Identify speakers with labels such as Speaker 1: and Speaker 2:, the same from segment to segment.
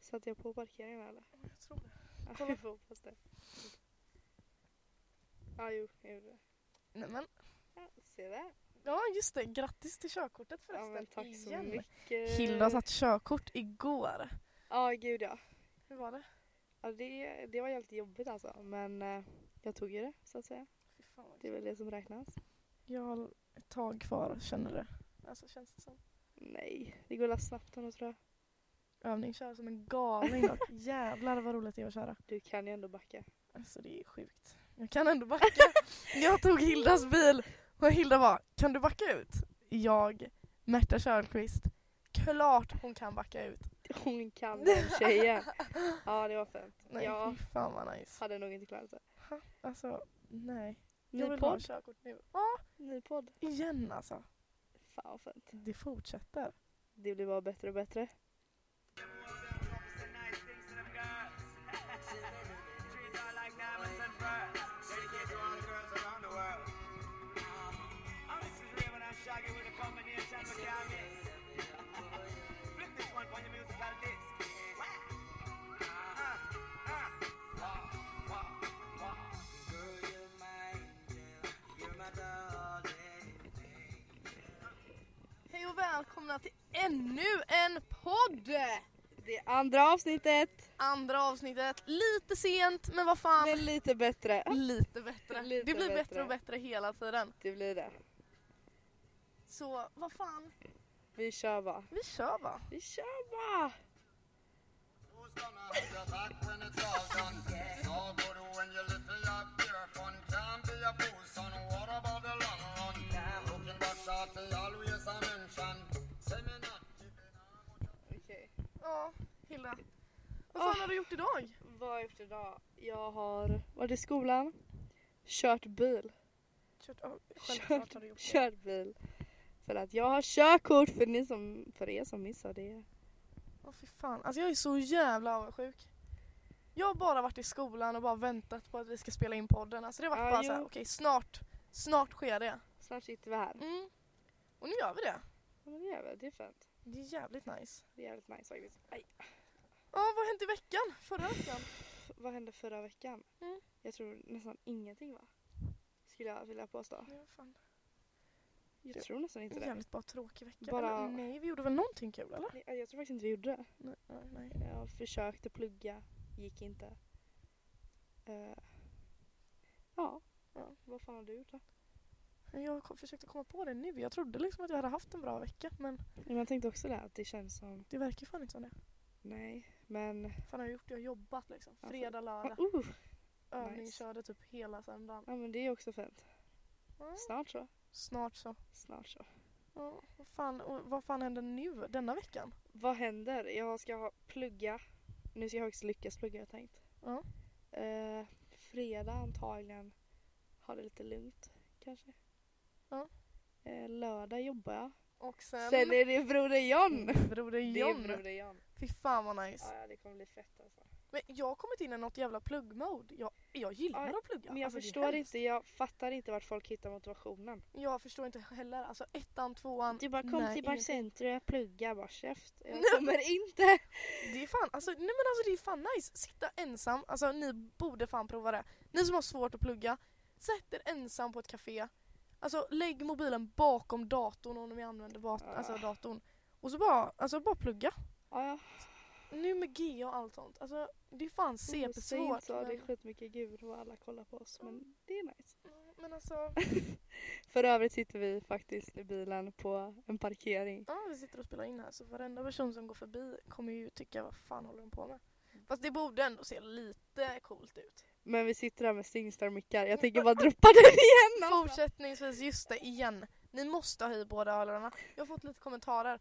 Speaker 1: Satt jag på parkeringen eller?
Speaker 2: Jag tror det.
Speaker 1: Ja,
Speaker 2: Kolla.
Speaker 1: Jag får hoppas det. Ja, jo, jag gjorde det.
Speaker 2: Nej, men,
Speaker 1: Ja, se där.
Speaker 2: ja just det, grattis till körkortet
Speaker 1: Ja,
Speaker 2: förresten.
Speaker 1: men tack så
Speaker 2: igen.
Speaker 1: mycket.
Speaker 2: Hilda satt körkort igår.
Speaker 1: Ja, gud ja.
Speaker 2: Hur var det?
Speaker 1: ja det, det var jävligt jobbigt alltså, men eh, jag tog ju det så att säga.
Speaker 2: Fy fan vad
Speaker 1: Det är väl det som räknas.
Speaker 2: Jag har ett tag kvar känner du. Alltså känns det som.
Speaker 1: Nej, det går la snabbt ändå tror jag.
Speaker 2: Övning kör som en galning dock. Jävlar vad roligt det är att köra.
Speaker 1: Du kan ju ändå backa.
Speaker 2: Alltså det är sjukt. Jag kan ändå backa. jag tog Hildas bil och Hilda var, kan du backa ut? Jag, Märta Körlqvist, klart hon kan backa ut.
Speaker 1: Hon kan den tjejen. Ja, det var fint.
Speaker 2: Nej
Speaker 1: Ja.
Speaker 2: fy fan vad nice.
Speaker 1: Hade nog inte klarat det.
Speaker 2: Alltså nej. Jag
Speaker 1: Ny
Speaker 2: vill ha
Speaker 1: podd.
Speaker 2: körkort nu. Ja,
Speaker 1: Ny podd.
Speaker 2: igen alltså.
Speaker 1: Fan vad fint.
Speaker 2: Det fortsätter.
Speaker 1: Det blir bara bättre och bättre.
Speaker 2: Hej och välkomna till ännu en podd!
Speaker 1: Det andra avsnittet,
Speaker 2: Andra avsnittet, lite sent men vad fan.
Speaker 1: men lite bättre.
Speaker 2: Lite bättre.
Speaker 1: Lite
Speaker 2: det blir bättre
Speaker 1: bättre.
Speaker 2: och bättre hela tiden.
Speaker 1: Det blir det.
Speaker 2: Så vad fan,
Speaker 1: Vi kör bara.
Speaker 2: vi kör va?
Speaker 1: Vi kör bara!
Speaker 3: Who's gonna hold you back when it's all done? It's all good when you live for your pure fun. Can't be a fool, son. What about the long run? Looking back, shawty, always a mention. Say me not keeping on.
Speaker 1: Okej.
Speaker 2: Ja, Hilda. Vad fan
Speaker 1: Ah.
Speaker 2: har du gjort idag?
Speaker 1: Vad har jag gjort idag? Jag har varit i skolan, kört bil.
Speaker 2: Kört, oh, självklart har du gjort det.
Speaker 1: Kört bil. För att jag har körkort för, ni som, för er som missar det.
Speaker 2: Åh fy fan, alltså jag är så jävla avundsjuk. Jag har bara varit i skolan och bara väntat på att vi ska spela in podden. Alltså det har varit
Speaker 1: Ja,
Speaker 2: bara
Speaker 1: jo.
Speaker 2: såhär, okej snart, snart sker det.
Speaker 1: Snart sitter vi här.
Speaker 2: Mm. Och nu gör vi det.
Speaker 1: Ja, men det gör vi. Det är fint.
Speaker 2: Det är jävligt nice.
Speaker 1: Det är jävligt nice faktiskt. Aj.
Speaker 2: Ja, vad har hänt i veckan? Förra veckan?
Speaker 1: Vad hände förra veckan?
Speaker 2: Mm.
Speaker 1: Jag tror nästan ingenting va? Skulle jag vilja påstå.
Speaker 2: Ja, fan.
Speaker 1: Jag tror nästan inte
Speaker 2: En
Speaker 1: det.
Speaker 2: jävligt bara tråkig vecka.
Speaker 1: Bara-
Speaker 2: Eller, nej, vi gjorde väl någonting kul eller?
Speaker 1: Nej, Jag tror faktiskt inte vi gjorde det.
Speaker 2: Nej, nej, nej.
Speaker 1: Jag Eh, försökte plugga, gick inte. Eh, ja.
Speaker 2: Ja.
Speaker 1: vad fan har du gjort då?
Speaker 2: Jag kom, försökte komma på det nu. Jag trodde liksom att jag hade haft en bra vecka men
Speaker 1: Men jag tänkte också det, att det känns som,
Speaker 2: det verkar ju fan inte som det.
Speaker 1: nej, men...
Speaker 2: Fan har jag gjort? Jag har jobbat liksom.
Speaker 1: Ja,
Speaker 2: Fredag, lördag.
Speaker 1: Uh,
Speaker 2: Övning
Speaker 1: nice.
Speaker 2: körde typ hela söndagen.
Speaker 1: ja men det är också fint.
Speaker 2: Mm.
Speaker 1: Snart så.
Speaker 2: Snart så.
Speaker 1: Snart så.
Speaker 2: Ja, vad, fan, och vad fan händer nu denna veckan?
Speaker 1: Vad händer? Jag ska ha plugga. Nu ska jag faktiskt lyckas plugga har jag tänkt.
Speaker 2: Ja.
Speaker 1: Eh, fredag antagligen har det lite lugnt kanske.
Speaker 2: Ja.
Speaker 1: Eh, lördag jobbar jag.
Speaker 2: Och sen,
Speaker 1: Sen, är det Broder John!
Speaker 2: Broder
Speaker 1: Det är
Speaker 2: Mm, John.
Speaker 1: Broder John.
Speaker 2: Fy fan vad nice.
Speaker 1: Ja, ja, det kommer bli fett alltså.
Speaker 2: Men jag har kommit in i något jävla pluggmode. Jag, jag gillar
Speaker 1: Ja,
Speaker 2: att plugga.
Speaker 1: Men jag
Speaker 2: Alltså, det är
Speaker 1: förstår
Speaker 2: hemskt.
Speaker 1: inte, jag fattar inte vart folk hittar motivationen.
Speaker 2: Jag förstår inte heller. Alltså ettan, tvåan.
Speaker 1: Du bara kom
Speaker 2: nej,
Speaker 1: till Bar
Speaker 2: ingenting.
Speaker 1: Center och jag pluggar, bara käft. Jag
Speaker 2: Nej.
Speaker 1: kommer inte.
Speaker 2: Det är fan, alltså, nej men alltså det är fan nice. Sitta ensam, alltså ni borde fan prova det. Ni som har svårt att plugga, sätt er ensam på ett café. Alltså lägg mobilen bakom datorn om ni använder bat-
Speaker 1: Ah.
Speaker 2: alltså, datorn. Och så bara, alltså, bara plugga.
Speaker 1: Ja, ja.
Speaker 2: Nu med GA och allt sånt. Alltså det är fan
Speaker 1: Mm, säg inte
Speaker 2: CP-svårt.
Speaker 1: så, det är
Speaker 2: Men,
Speaker 1: skitmycket gud och alla kollar på oss men det är nice.
Speaker 2: men alltså,
Speaker 1: För övrigt sitter vi faktiskt i bilen på en parkering.
Speaker 2: ja, vi sitter och spelar in här så varenda person som går förbi kommer ju tycka vad fan håller de på med. Fast det borde ändå se lite coolt ut.
Speaker 1: Men vi sitter där med Singstar-mickar. Jag tänker bara droppa den igen alltså.
Speaker 2: Fortsättningsvis, just det, igen. Ni måste ha i båda hörlurarna. Jag har fått lite kommentarer.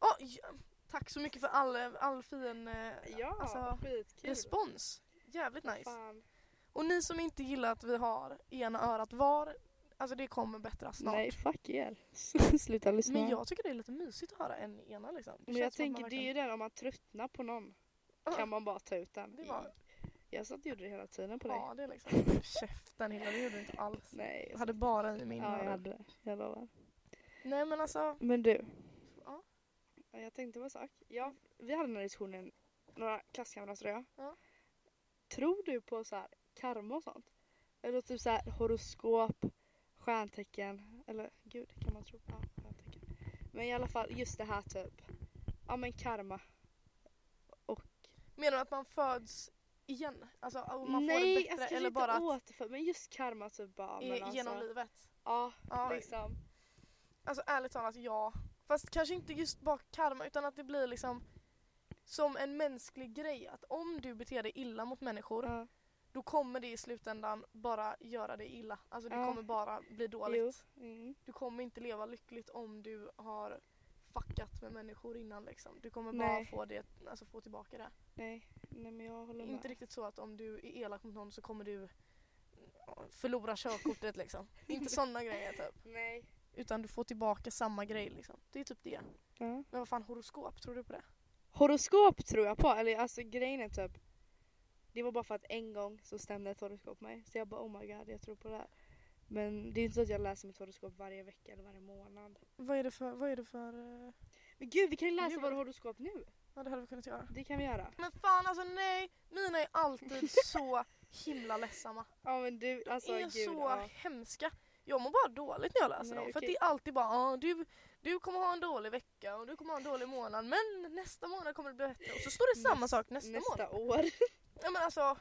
Speaker 2: Åh, ja, tack så mycket för all, all fin eh,
Speaker 1: Ja,
Speaker 2: alltså,
Speaker 1: skitkul.
Speaker 2: respons. Jävligt nice.
Speaker 1: Fan.
Speaker 2: Och ni som inte gillar att vi har ena örat var, alltså det kommer bättra snart.
Speaker 1: Nej, fuck er. Sluta lyssna.
Speaker 2: Men jag tycker det är lite mysigt att höra en i ena liksom. Det
Speaker 1: Men jag
Speaker 2: känns som att man
Speaker 1: tänker det är ju den om man tröttnar på någon
Speaker 2: Ja.
Speaker 1: kan man bara ta ut den.
Speaker 2: Det var-
Speaker 1: Jag satt och gjorde det hela tiden på
Speaker 2: verkligen
Speaker 1: dig.
Speaker 2: har det liksom. Käften Hilda, det gjorde du inte alls.
Speaker 1: Nej,
Speaker 2: Jag hade bara i min
Speaker 1: ja, jag
Speaker 2: ja,
Speaker 1: hade det. Jag lovar.
Speaker 2: Nej men alltså,
Speaker 1: Men du.
Speaker 2: Ja.
Speaker 1: Jag tänkte på en sak. Jag, vi hade den här diskussionen några klasskamrater och jag.
Speaker 2: Ja.
Speaker 1: Tror du på så här karma och sånt? Eller typ så här horoskop, stjärntecken. Eller gud, kan man tro på? Ja, stjärntecken. Men i alla fall just det här typ. Ja men karma. Och
Speaker 2: Menar du att man föds igen? Alltså om man får det
Speaker 1: nej,
Speaker 2: bättre
Speaker 1: alltså
Speaker 2: eller
Speaker 1: eller
Speaker 2: bara
Speaker 1: inte
Speaker 2: att,
Speaker 1: återför. Men just karma typ bara.
Speaker 2: i-
Speaker 1: Men
Speaker 2: genom
Speaker 1: alltså,
Speaker 2: livet?
Speaker 1: ja,
Speaker 2: Ja,
Speaker 1: liksom.
Speaker 2: Alltså ärligt talat ja. Fast kanske inte just bara karma utan att det blir liksom som en mänsklig grej att om du beter dig illa mot människor
Speaker 1: Ja.
Speaker 2: då kommer det i slutändan bara göra dig illa. Alltså det
Speaker 1: Ja.
Speaker 2: kommer bara bli dåligt.
Speaker 1: Mm.
Speaker 2: Du kommer inte leva lyckligt om du har fuckat med människor innan liksom. Du kommer bara
Speaker 1: Nej.
Speaker 2: få, det, alltså, få tillbaka det.
Speaker 1: Nej, nej men jag håller
Speaker 2: Inte
Speaker 1: med.
Speaker 2: riktigt så att om du är elak mot någon så kommer du ja, förlora körkortet liksom. inte sådana grejer typ.
Speaker 1: Nej.
Speaker 2: Utan du får tillbaka samma grej liksom. Det är typ det.
Speaker 1: Ja.
Speaker 2: Men vad fan horoskop, tror du på det?
Speaker 1: Horoskop tror jag på, eller alltså grejen är typ Det var bara för att en gång så stämde ett horoskop med mig så jag bara oh my god jag tror på det här. Men det är inte så att jag läser mitt horoskop varje vecka eller varje månad.
Speaker 2: Vad är det för, vad är det för... eh,
Speaker 1: Men gud vi kan ju läsa
Speaker 2: Nu.
Speaker 1: våra horoskop nu!
Speaker 2: Ja det hade vi kunnat göra.
Speaker 1: Det kan vi göra.
Speaker 2: Men fan alltså nej! Mina är alltid så himla ledsamma.
Speaker 1: Ja men du alltså
Speaker 2: är
Speaker 1: gud.
Speaker 2: så
Speaker 1: ja.
Speaker 2: hemska. Jag mår bara dåligt när jag
Speaker 1: Nej,
Speaker 2: läser dem. För att
Speaker 1: okej.
Speaker 2: det är alltid bara ah, du, du kommer ha en dålig vecka och du kommer ha en dålig månad men nästa månad kommer det bli bättre. Och så står det samma
Speaker 1: Näst-
Speaker 2: sak nästa, månad.
Speaker 1: Nästa år.
Speaker 2: Ja, men alltså,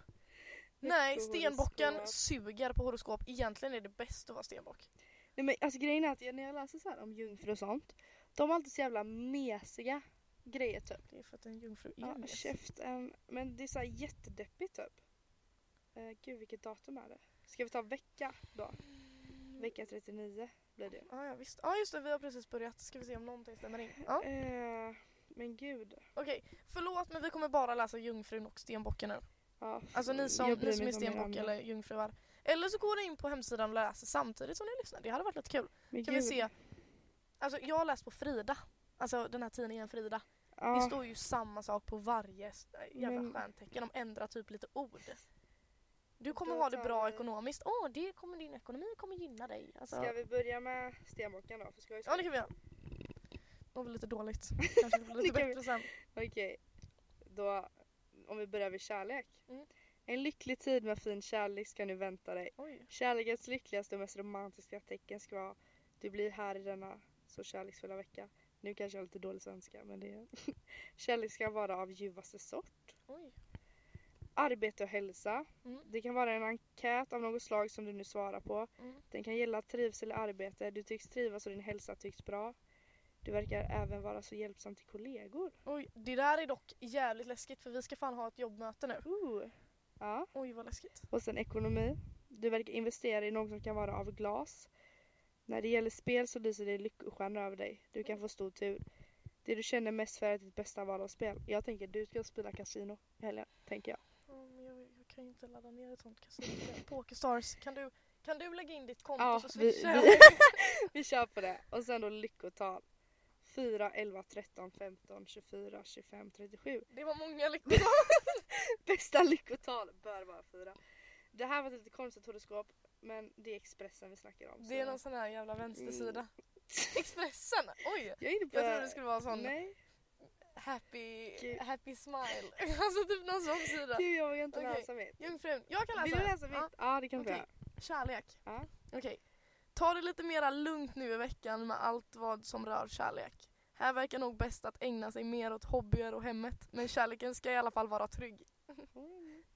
Speaker 2: nej, stenbocken
Speaker 1: horoskop.
Speaker 2: suger på horoskop. Egentligen är det bäst att vara stenbock.
Speaker 1: Nej men alltså grejen är att jag- när jag läser så här om jungfrur och sånt de har alltid så jävla mesiga grejer typ.
Speaker 2: Det är för att en jungfru är
Speaker 1: Ja,
Speaker 2: en mes.
Speaker 1: käften. Men det är så här jättedeppigt typ. Eh, gud vilket datum är det? Ska vi ta vecka då? Vecka 39 blir det.
Speaker 2: Ja, ja, visst. Ja, just det, vi har precis börjat. Ska vi se om någonting stämmer in. Ja.
Speaker 1: Eh, men gud.
Speaker 2: Okej, förlåt men vi kommer bara läsa jungfrun och stenbocken nu.
Speaker 1: Ja,
Speaker 2: Alltså ni som,
Speaker 1: jag bryr
Speaker 2: ni som
Speaker 1: mig
Speaker 2: är
Speaker 1: inte om er
Speaker 2: stenbock
Speaker 1: andra.
Speaker 2: eller jungfruar. Eller så går ni in på hemsidan och läser samtidigt som ni lyssnar. Det hade varit lite kul.
Speaker 1: Men
Speaker 2: Kan vi
Speaker 1: gud.
Speaker 2: se. Alltså jag har läst på Frida. Alltså den här tidningen Frida.
Speaker 1: Ja,
Speaker 2: Det står ju samma sak på varje s- jävla
Speaker 1: Men-
Speaker 2: stjärntecken. De ändrar typ lite ord. Du kommer
Speaker 1: Då
Speaker 2: ha det
Speaker 1: tar
Speaker 2: bra
Speaker 1: vi-
Speaker 2: ekonomiskt. Åh, det kommer din ekonomi kommer gynna dig. Alltså...
Speaker 1: Ska vi börja med stenbocken då? För ska vi
Speaker 2: Ja det kan vi göra. Mår väl lite dåligt. Kanske det blir
Speaker 1: Det
Speaker 2: lite
Speaker 1: kan vi-
Speaker 2: bättre sen.
Speaker 1: Okej. Då, om vi börjar vid kärlek.
Speaker 2: Mm.
Speaker 1: En lycklig tid med fin kärlek ska nu vänta dig.
Speaker 2: Oj.
Speaker 1: Kärlekens lyckligaste och mest romantiska tecken ska vara Du blir här i denna så kärleksfulla vecka. Nu kanske jag har lite dålig svenska men det är... Kärlek ska vara av ljuvaste sort.
Speaker 2: Oj.
Speaker 1: Arbete och hälsa.
Speaker 2: Mm.
Speaker 1: Det kan vara en enkät av något slag som du nu svarar på.
Speaker 2: Mm.
Speaker 1: Den kan gälla trivsel i arbete. Du tycks trivas och din hälsa tycks bra. Du verkar även vara så hjälpsam till kollegor.
Speaker 2: Oj, det där är dock jävligt läskigt för vi ska fan ha ett jobbmöte nu.
Speaker 1: Ooh. Ja.
Speaker 2: Oj vad läskigt.
Speaker 1: Och sen ekonomi. Du verkar investera i något som kan vara av glas. När det gäller spel så lyser det lyckostjärnor över dig. Du kan få stor tur. Det du känner mest för är ditt bästa val av spel. Jag tänker du ska spela kasino i helgen, tänker jag.
Speaker 2: Ja, men jag, jag kan ju inte ladda ner ett sånt kasino. Pokerstars, kan du, kan du lägga in ditt konto
Speaker 1: Ja,
Speaker 2: så
Speaker 1: vi-
Speaker 2: swishar jag?
Speaker 1: vi- Vi kör på det. Och sen då lyckotal. 4, 11, 13, 15, 24, 25, 37.
Speaker 2: Det var många lyckor.
Speaker 1: Bästa lyckotal bör vara 4. Det här var ett lite konstigt horoskop men det är Expressen vi snackar om.
Speaker 2: Det är
Speaker 1: så- Mm.
Speaker 2: någon sån här jävla vänstersida. Expressen, oj!
Speaker 1: Jag är inne på...
Speaker 2: Jag trodde det skulle vara en sån
Speaker 1: Nej,
Speaker 2: happy,
Speaker 1: Gud.
Speaker 2: happy smile. Alltså typ någon sån sida.
Speaker 1: gud, jag vågar inte
Speaker 2: Okej.
Speaker 1: läsa mitt.
Speaker 2: Jungfrun, jag kan läsa.
Speaker 1: Vill du läsa mitt?
Speaker 2: Ja,
Speaker 1: Ja, det kan
Speaker 2: Okej.
Speaker 1: vi göra.
Speaker 2: kärlek.
Speaker 1: Ja.
Speaker 2: Okej. Ta det lite mera lugnt nu i veckan med allt vad som rör kärlek. Här verkar nog bäst att ägna sig mer åt hobbyer och hemmet. Men kärleken ska i alla fall vara trygg.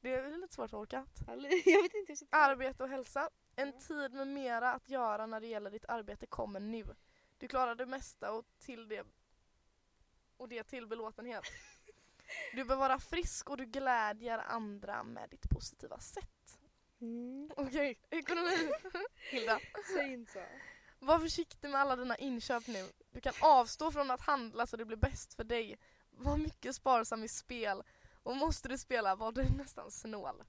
Speaker 2: Det är väl lite svårt att orka.
Speaker 1: Eller- Jag vet inte hur jag ska ta
Speaker 2: Arbete och hälsa. En tid med mera att göra när det gäller ditt arbete kommer nu. Du klarar det mesta och till det och det till belåtenhet. Du bör vara frisk och du glädjer andra med ditt positiva sätt.
Speaker 1: mm.
Speaker 2: Okej, ekonomi. Hilda,
Speaker 1: Säg inte så.
Speaker 2: var försiktig med alla dina inköp nu. Du kan avstå från att handla så det blir bäst för dig. Var mycket sparsam i spel och måste du spela var du nästan snål.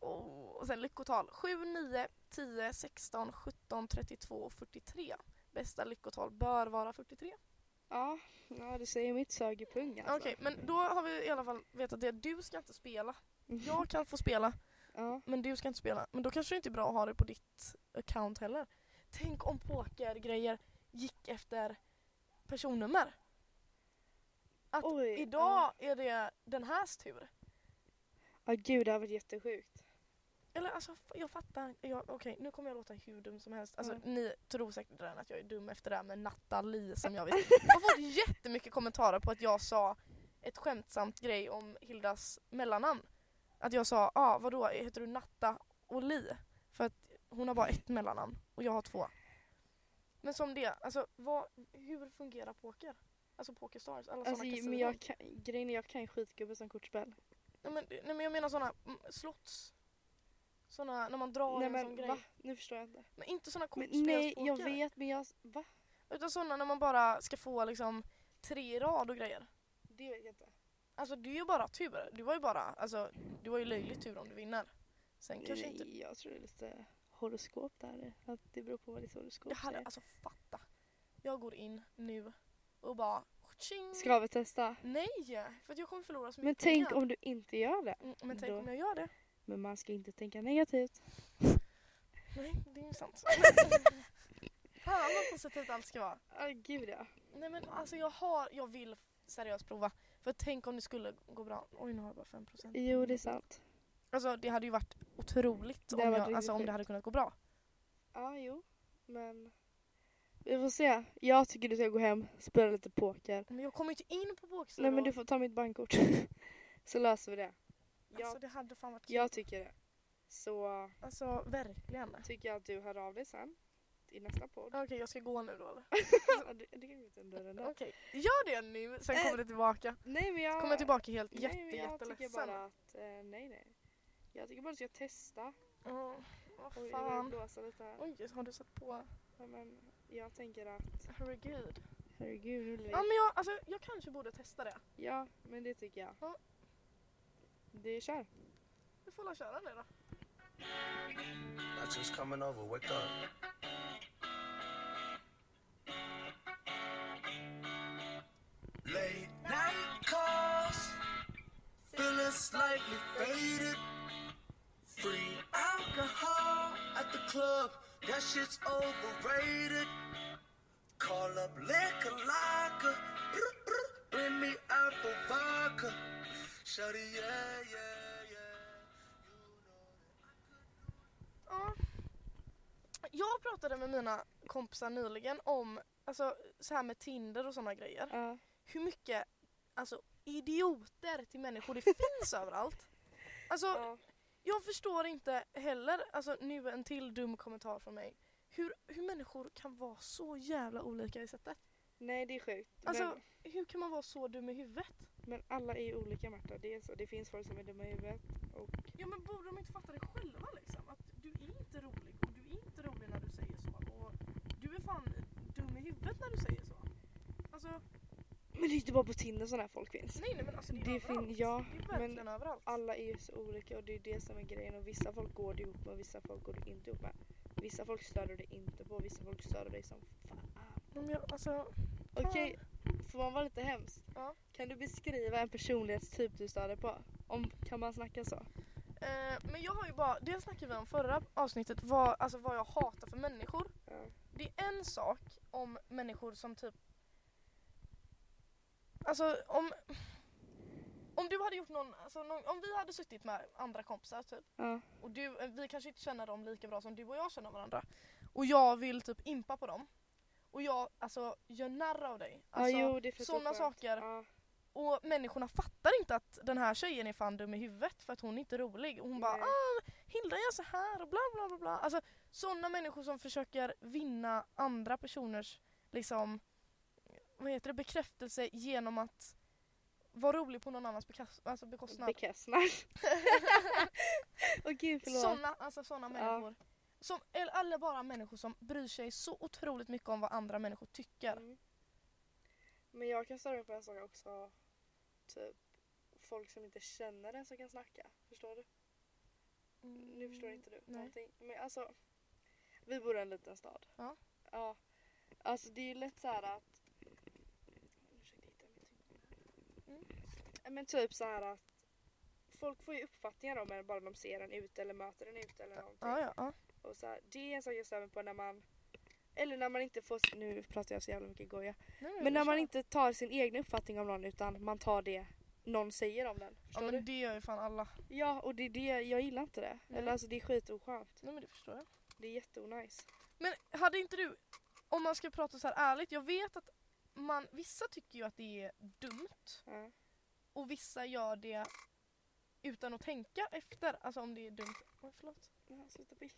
Speaker 2: Oh, och sen lyckotal 7, 9, 10, 16, 17, 32 och 43. Bästa lyckotal bör vara 43.
Speaker 1: Ja, ja du säger mitt sög i pung alltså.
Speaker 2: Okej, men då har vi i alla fall vetat det. Du ska inte spela. Jag kan få spela,
Speaker 1: Ja.
Speaker 2: men du ska inte spela. Men då kanske det inte är bra att ha det på ditt account heller. Tänk om pokergrejer gick efter personnummer. Att
Speaker 1: Oj,
Speaker 2: idag är det den härs tur.
Speaker 1: Ja gud det har varit jättesjukt.
Speaker 2: Eller alltså f- jag fattar. Jag, okej nu kommer jag låta hur dum som helst. Alltså
Speaker 1: Mm.
Speaker 2: ni tror säkert redan att jag är dum efter det här med Nathalie som jag vet. Jag har fått jättemycket kommentarer på att jag sa ett skämtsamt grej om Hildas mellannamn. Att jag sa, ah, vadå heter du Natta och Li? För att hon har bara ett mellannamn och jag har två. Men som det, alltså vad, hur fungerar poker? Alltså Pokerstars, alla
Speaker 1: Alltså,
Speaker 2: sådana
Speaker 1: men jag kan, grejen är jag kan ju skitgubbe som kortspel.
Speaker 2: nej, men, nej men jag menar sådana mm, slotts. Sådana, när man drar
Speaker 1: nej
Speaker 2: en sån
Speaker 1: men
Speaker 2: grej.
Speaker 1: va? Nu förstår jag inte.
Speaker 2: Men inte såna
Speaker 1: Men, nej jag
Speaker 2: kortspelspoker.
Speaker 1: vet men jag, va?
Speaker 2: Utan såna när man bara ska få liksom tre i rad och grejer.
Speaker 1: Det vet jag inte.
Speaker 2: Alltså det är ju bara tur. Du var ju bara, alltså du har ju löjlig tur om du vinner. Sen kanske inte...
Speaker 1: Nej, Jag tror det är lite horoskop där. Att det beror på vad ditt horoskop
Speaker 2: Jag hade,
Speaker 1: säger.
Speaker 2: alltså fatta. Jag går in nu och bara tjing.
Speaker 1: Ska vi
Speaker 2: Mm,
Speaker 1: testa?
Speaker 2: Nej! För att jag kommer förlora så mycket
Speaker 1: Men tänk
Speaker 2: pengar.
Speaker 1: om du inte gör det.
Speaker 2: Mm, Men tänk
Speaker 1: då-
Speaker 2: om jag gör det.
Speaker 1: Men man ska inte tänka negativt.
Speaker 2: Nej, det är ju sant. Fan vad positivt allt ska vara.
Speaker 1: Ah, gud ja.
Speaker 2: Nej men alltså jag har, jag vill seriöst prova. För tänk om det skulle gå bra. Oj nu har jag bara 5%.
Speaker 1: Jo det är sant.
Speaker 2: Alltså det hade ju varit otroligt
Speaker 1: Det
Speaker 2: om,
Speaker 1: hade varit
Speaker 2: jag,
Speaker 1: riktigt
Speaker 2: alltså, om
Speaker 1: sjukt.
Speaker 2: det hade kunnat gå bra.
Speaker 1: Ja jo. Men vi får se. Jag tycker du ska gå hem, spela lite poker.
Speaker 2: Men jag kommer ju inte in på boksidan.
Speaker 1: Nej men du får ta mitt bankkort. Så löser vi det.
Speaker 2: Alltså
Speaker 1: Jag,
Speaker 2: det hade fan varit kul.
Speaker 1: jag tycker det. Så
Speaker 2: Alltså verkligen.
Speaker 1: tycker jag att du hör av dig sen. I nästa podd.
Speaker 2: Okej jag ska gå nu då eller?
Speaker 1: Ja, du, du kan gå ut under den där.
Speaker 2: Okej, gör det nu sen kommer du tillbaka.
Speaker 1: Nej men jag...
Speaker 2: Kommer jag tillbaka helt
Speaker 1: Eh, Nej,
Speaker 2: jätte
Speaker 1: men jag tycker
Speaker 2: jätteledsen.
Speaker 1: bara att, eh, nej nej. Jag tycker bara att jag ska testa.
Speaker 2: Ja, Vad
Speaker 1: Oj, jag börjar
Speaker 2: fan.
Speaker 1: blåsa lite här.
Speaker 2: Oj, har du satt på?
Speaker 1: Ja, Men jag tänker att,
Speaker 2: Herregud.
Speaker 1: herregud nu blir det...
Speaker 2: Ja men jag, alltså, jag kanske borde testa det.
Speaker 1: Ja, men det tycker jag.
Speaker 2: Ja.
Speaker 1: Det kör.
Speaker 2: Du får la köra det då.
Speaker 4: That's just coming over. Wake up. Late night calls, feeling slightly faded. Free alcohol at the club, that shit's overrated. Call up liquor locker, bring me out the vodka. Shawty, yeah, yeah, yeah. You know that.
Speaker 2: Ja. Jag pratade med mina kompisar nyligen om, alltså så här med Tinder och sådana grejer.
Speaker 1: Ja.
Speaker 2: hur mycket alltså, idioter till människor det finns överallt. Alltså,
Speaker 1: Ja.
Speaker 2: jag förstår inte heller, alltså nu en till dum kommentar från mig, hur, hur människor kan vara så jävla olika i sättet.
Speaker 1: Nej, det är sjukt.
Speaker 2: Alltså,
Speaker 1: men,
Speaker 2: hur kan man vara så dum i huvudet?
Speaker 1: men alla är ju olika Marta, det är så. Det finns folk som är dumma i huvudet. Och,
Speaker 2: Ja men borde de inte fatta det själva liksom? Att du är inte rolig och du är inte rolig när du säger så och du är fan dum i huvudet när du säger så. Alltså,
Speaker 1: men det är inte bara på Tinder sådana här folk finns.
Speaker 2: nej nej men alltså det är
Speaker 1: Det fin-
Speaker 2: överallt.
Speaker 1: ja,
Speaker 2: det är
Speaker 1: men-
Speaker 2: verkligen överallt.
Speaker 1: Alla är ju så olika och det är det som är grejen. Och vissa folk går du ihop med och vissa folk går du inte ihop med. Vissa folk stör du dig inte på och vissa folk stör du dig som fan.
Speaker 2: Men jag, alltså,
Speaker 1: Okej, får man vara lite hemsk?
Speaker 2: Ja.
Speaker 1: Kan du beskriva en personlighetstyp du störde på? Om, kan man snacka så?
Speaker 2: Eh, men jag har ju bara, det snackade vi om förra avsnittet, vad, alltså vad jag hatar för människor.
Speaker 1: Ja.
Speaker 2: Det är en sak om människor som typ... Alltså om... Om du hade gjort någon, alltså någon, om vi hade suttit med andra kompisar typ
Speaker 1: Ja.
Speaker 2: och du, eh, vi kanske inte känner dem lika bra som du och jag känner varandra och jag vill typ impa på dem och jag alltså gör narr av dig. Alltså,
Speaker 1: ja, jo, det är för att
Speaker 2: såna
Speaker 1: det är skönt.
Speaker 2: saker.
Speaker 1: Ja.
Speaker 2: och människorna fattar inte att den här tjejen är fan dum i huvudet för att hon är inte rolig. Och hon bara
Speaker 1: Nej.
Speaker 2: ah, Hilda gör så här och bla bla bla. bla. Alltså sådana människor som försöker vinna andra personers liksom, vad heter det, bekräftelse genom att vara rolig på någon annans bekas- alltså
Speaker 1: Eh,
Speaker 2: bekostnad.
Speaker 1: Bekräftelsnarr. Åh gud, förlåt.
Speaker 2: Sådana alltså såna människor. Som, eller alla bara människor som bryr sig så otroligt mycket om vad andra människor tycker.
Speaker 1: Mm. Men jag kan störa mig på en sak också. Typ folk som inte känner en som kan snacka. Förstår du? Nu förstår inte du
Speaker 2: Mm, nej.
Speaker 1: någonting. Men alltså, vi bor i en liten stad.
Speaker 2: Ja.
Speaker 1: Ja. Alltså det är ju lätt så här att... Jag försökte hitta mitt huvud.
Speaker 2: Mm.
Speaker 1: Ja, Men typ så här att folk får ju uppfattningar om en bara de ser en ute eller möter en ute eller någonting.
Speaker 2: Ja, ja, ja.
Speaker 1: Och så här, det är en sak jag stör mig på när man Eller när man inte får, nu pratar jag så jävla mycket goja.
Speaker 2: Nej,
Speaker 1: Men när man
Speaker 2: kör.
Speaker 1: inte tar sin egen uppfattning om någon utan man tar det någon säger om den.
Speaker 2: Ja
Speaker 1: Förstår
Speaker 2: men
Speaker 1: du?
Speaker 2: det gör ju fan alla.
Speaker 1: Ja och det är det, jag gillar inte det.
Speaker 2: Nej.
Speaker 1: Eller alltså det är skitoskönt.
Speaker 2: Nej men det förstår jag.
Speaker 1: Det är jätteonajs.
Speaker 2: Men hade inte du, om man ska prata så här ärligt, jag vet att man, vissa tycker ju att det är dumt
Speaker 1: Ja.
Speaker 2: och vissa gör det utan att tänka efter, alltså om det är dumt. Oj förlåt.
Speaker 1: Ja, sluta pilla.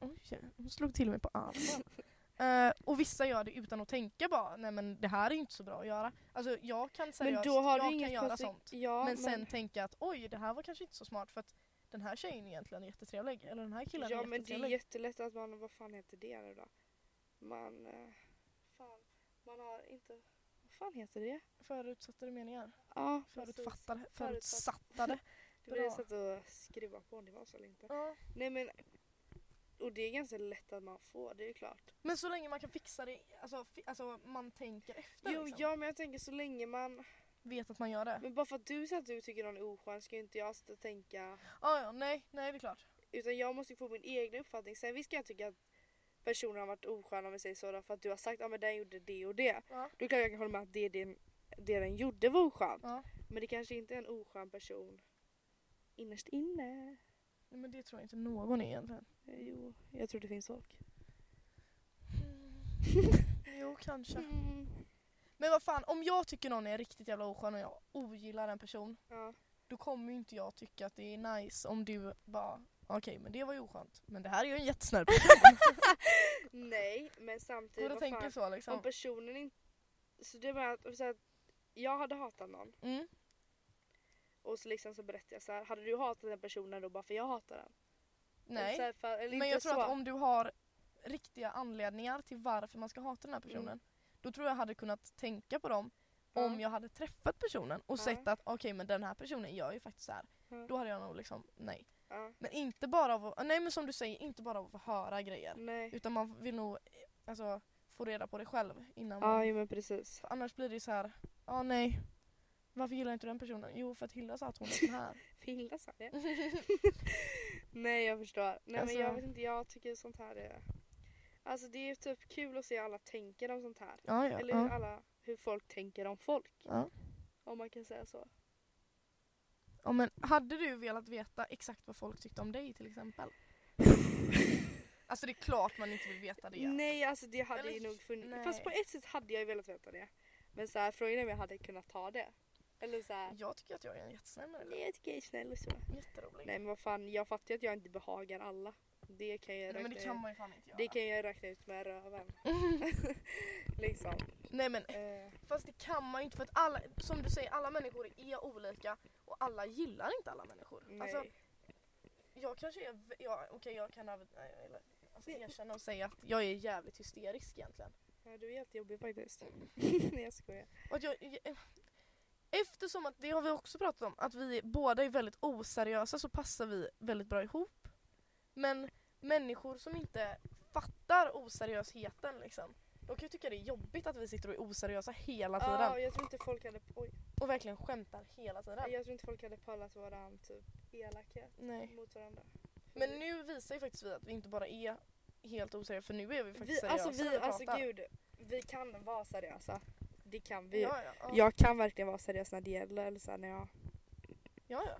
Speaker 2: Oj, hon slog till mig på armen. Eh, och vissa gör det utan att tänka bara, nej men det här är inte så bra att göra. Alltså jag kan seriöst,
Speaker 1: Men då har
Speaker 2: jag
Speaker 1: du
Speaker 2: kan
Speaker 1: inget
Speaker 2: göra
Speaker 1: konse-
Speaker 2: sånt.
Speaker 1: Ja,
Speaker 2: men sen tänka att oj det här var kanske inte så smart för att den här tjejen egentligen är jättetrevlig. Eller den här killen
Speaker 1: Ja
Speaker 2: är
Speaker 1: men det
Speaker 2: jättetrevlig.
Speaker 1: är jättelätt att man, vad fan heter det nu då? Man, eh, fan, man har inte, vad fan heter det?
Speaker 2: Förutsattade meningar.
Speaker 1: Ja, precis.
Speaker 2: Förutfattade.
Speaker 1: Förutsatt-
Speaker 2: Förutsattade.
Speaker 1: Det blir
Speaker 2: Bra.
Speaker 1: så att skruva på om det var så eller inte.
Speaker 2: ja.
Speaker 1: Nej men, och det är ganska lätt att man får, det är ju klart.
Speaker 2: Men så länge man kan fixa det, alltså, fi- alltså man tänker efter
Speaker 1: Jo,
Speaker 2: liksom.
Speaker 1: ja men jag tänker så länge man,
Speaker 2: Vet att man gör det.
Speaker 1: men bara för att du säger att du tycker någon är oskön ska ju inte jag sitta och tänka.
Speaker 2: Ja, ja, nej, nej det är klart.
Speaker 1: Utan jag måste ju få min egen uppfattning. Sen visst kan jag tycka att personen har varit oskön om vi säger så då, för att du har sagt att ah, men den gjorde det och det.
Speaker 2: Ja.
Speaker 1: Då kan jag hålla med att det, det, det den gjorde var oskönt.
Speaker 2: Ja.
Speaker 1: Men det kanske inte är en oskön person innerst inne.
Speaker 2: Nej, men det tror jag inte någon är egentligen.
Speaker 1: Eh, Jo, jag tror det finns folk.
Speaker 2: Jo kanske.
Speaker 1: Mm.
Speaker 2: Men vad fan om jag tycker någon är riktigt jävla oskön och jag ogillar en person.
Speaker 1: Ja.
Speaker 2: Då kommer ju inte jag tycka att det är nice om du bara okej men det var ju oskönt. Men det här är ju en jättesnäll person.
Speaker 1: Nej, men samtidigt.
Speaker 2: Går du
Speaker 1: vad
Speaker 2: och tänker
Speaker 1: fan,
Speaker 2: så
Speaker 1: om
Speaker 2: liksom?
Speaker 1: personen inte... Så det var att, så att jag hade hatat någon
Speaker 2: Mm.
Speaker 1: och så liksom så berättade jag så här. Hade du hatat den personen då bara för jag hatar den? Eller Så
Speaker 2: Nej.
Speaker 1: här, för, eller
Speaker 2: Men
Speaker 1: inte
Speaker 2: jag tror
Speaker 1: så.
Speaker 2: att om du har riktiga anledningar till varför man ska hata den här personen.
Speaker 1: Mm.
Speaker 2: Då tror jag hade kunnat tänka på dem
Speaker 1: Ja.
Speaker 2: om jag hade träffat personen och
Speaker 1: Ja.
Speaker 2: sett att okej men den här personen gör ju faktiskt så här.
Speaker 1: Ja.
Speaker 2: Då hade jag nog liksom nej.
Speaker 1: Ja.
Speaker 2: Men inte bara av att, nej men som du säger, inte bara av att få höra grejer.
Speaker 1: Nej.
Speaker 2: Utan man vill nog eh, alltså, få reda på det själv innan
Speaker 1: Ja,
Speaker 2: man,
Speaker 1: jo, men precis.
Speaker 2: för annars blir det ju så här, ja nej. Varför gillar inte du den personen? Jo för att Hilda sa att hon är sån här.
Speaker 1: Filla sa det. Nej jag förstår. Nej
Speaker 2: Alltså-
Speaker 1: men jag vet inte, jag tycker sånt här är... Alltså det är typ kul att se hur alla tänker om sånt här.
Speaker 2: Ja, ja,
Speaker 1: Eller hur
Speaker 2: ja,
Speaker 1: alla, hur folk tänker om folk.
Speaker 2: ja.
Speaker 1: Om man kan säga så.
Speaker 2: ja men hade du velat veta exakt vad folk tyckte om dig till exempel? alltså det är klart man inte vill veta det.
Speaker 1: Nej alltså det hade
Speaker 2: Eller-
Speaker 1: ju nog funnits.
Speaker 2: nej.
Speaker 1: Fast på ett sätt hade jag ju velat veta det. Men så här, frågan är om jag hade kunnat ta det. Eller så här,
Speaker 2: Jag tycker att jag är en jättesnäll människa.
Speaker 1: nej jag tycker jag är snäll och så.
Speaker 2: Jätterolig. Nej,
Speaker 1: Nej men vad fan, jag fattar ju att jag inte behagar alla. Det kan jag räkna
Speaker 2: men det
Speaker 1: ut.
Speaker 2: kan man ju fan inte göra.
Speaker 1: det kan jag räkna ut med röven. liksom.
Speaker 2: Nej men
Speaker 1: Eh,
Speaker 2: Fast det kan man ju inte för att alla, som du säger, alla människor är olika och alla gillar inte alla människor.
Speaker 1: nej.
Speaker 2: Alltså, jag kanske är, vä- ja, okej jag kan över- nej, eller, alltså, erkänna och säga att jag är jävligt hysterisk egentligen.
Speaker 1: Ja, du är jättejobbig faktiskt. Nej jag skojar.
Speaker 2: Och att jag, jag- eftersom att, det har vi också pratat om, att vi båda är väldigt oseriösa så passar vi väldigt bra ihop. Men människor som inte fattar oseriösheten liksom, de kan ju tycka det är jobbigt att vi sitter och är oseriösa hela tiden.
Speaker 1: Ja, jag tror inte folk hade, oj,
Speaker 2: Och verkligen skämtar hela tiden.
Speaker 1: jag tror inte folk hade pallat våran typ elakhet
Speaker 2: Nej.
Speaker 1: mot varandra.
Speaker 2: Men nu visar ju faktiskt vi att vi inte bara är helt oseriösa för nu är vi faktiskt
Speaker 1: vi,
Speaker 2: seriösa
Speaker 1: alltså,
Speaker 2: när
Speaker 1: vi,
Speaker 2: vi
Speaker 1: alltså
Speaker 2: pratar.
Speaker 1: gud, vi kan vara seriösa. Det kan vi.
Speaker 2: Ja, ja, ja.
Speaker 1: Jag kan verkligen vara seriös när det gäller. Eller så här, när jag...
Speaker 2: ja, ja.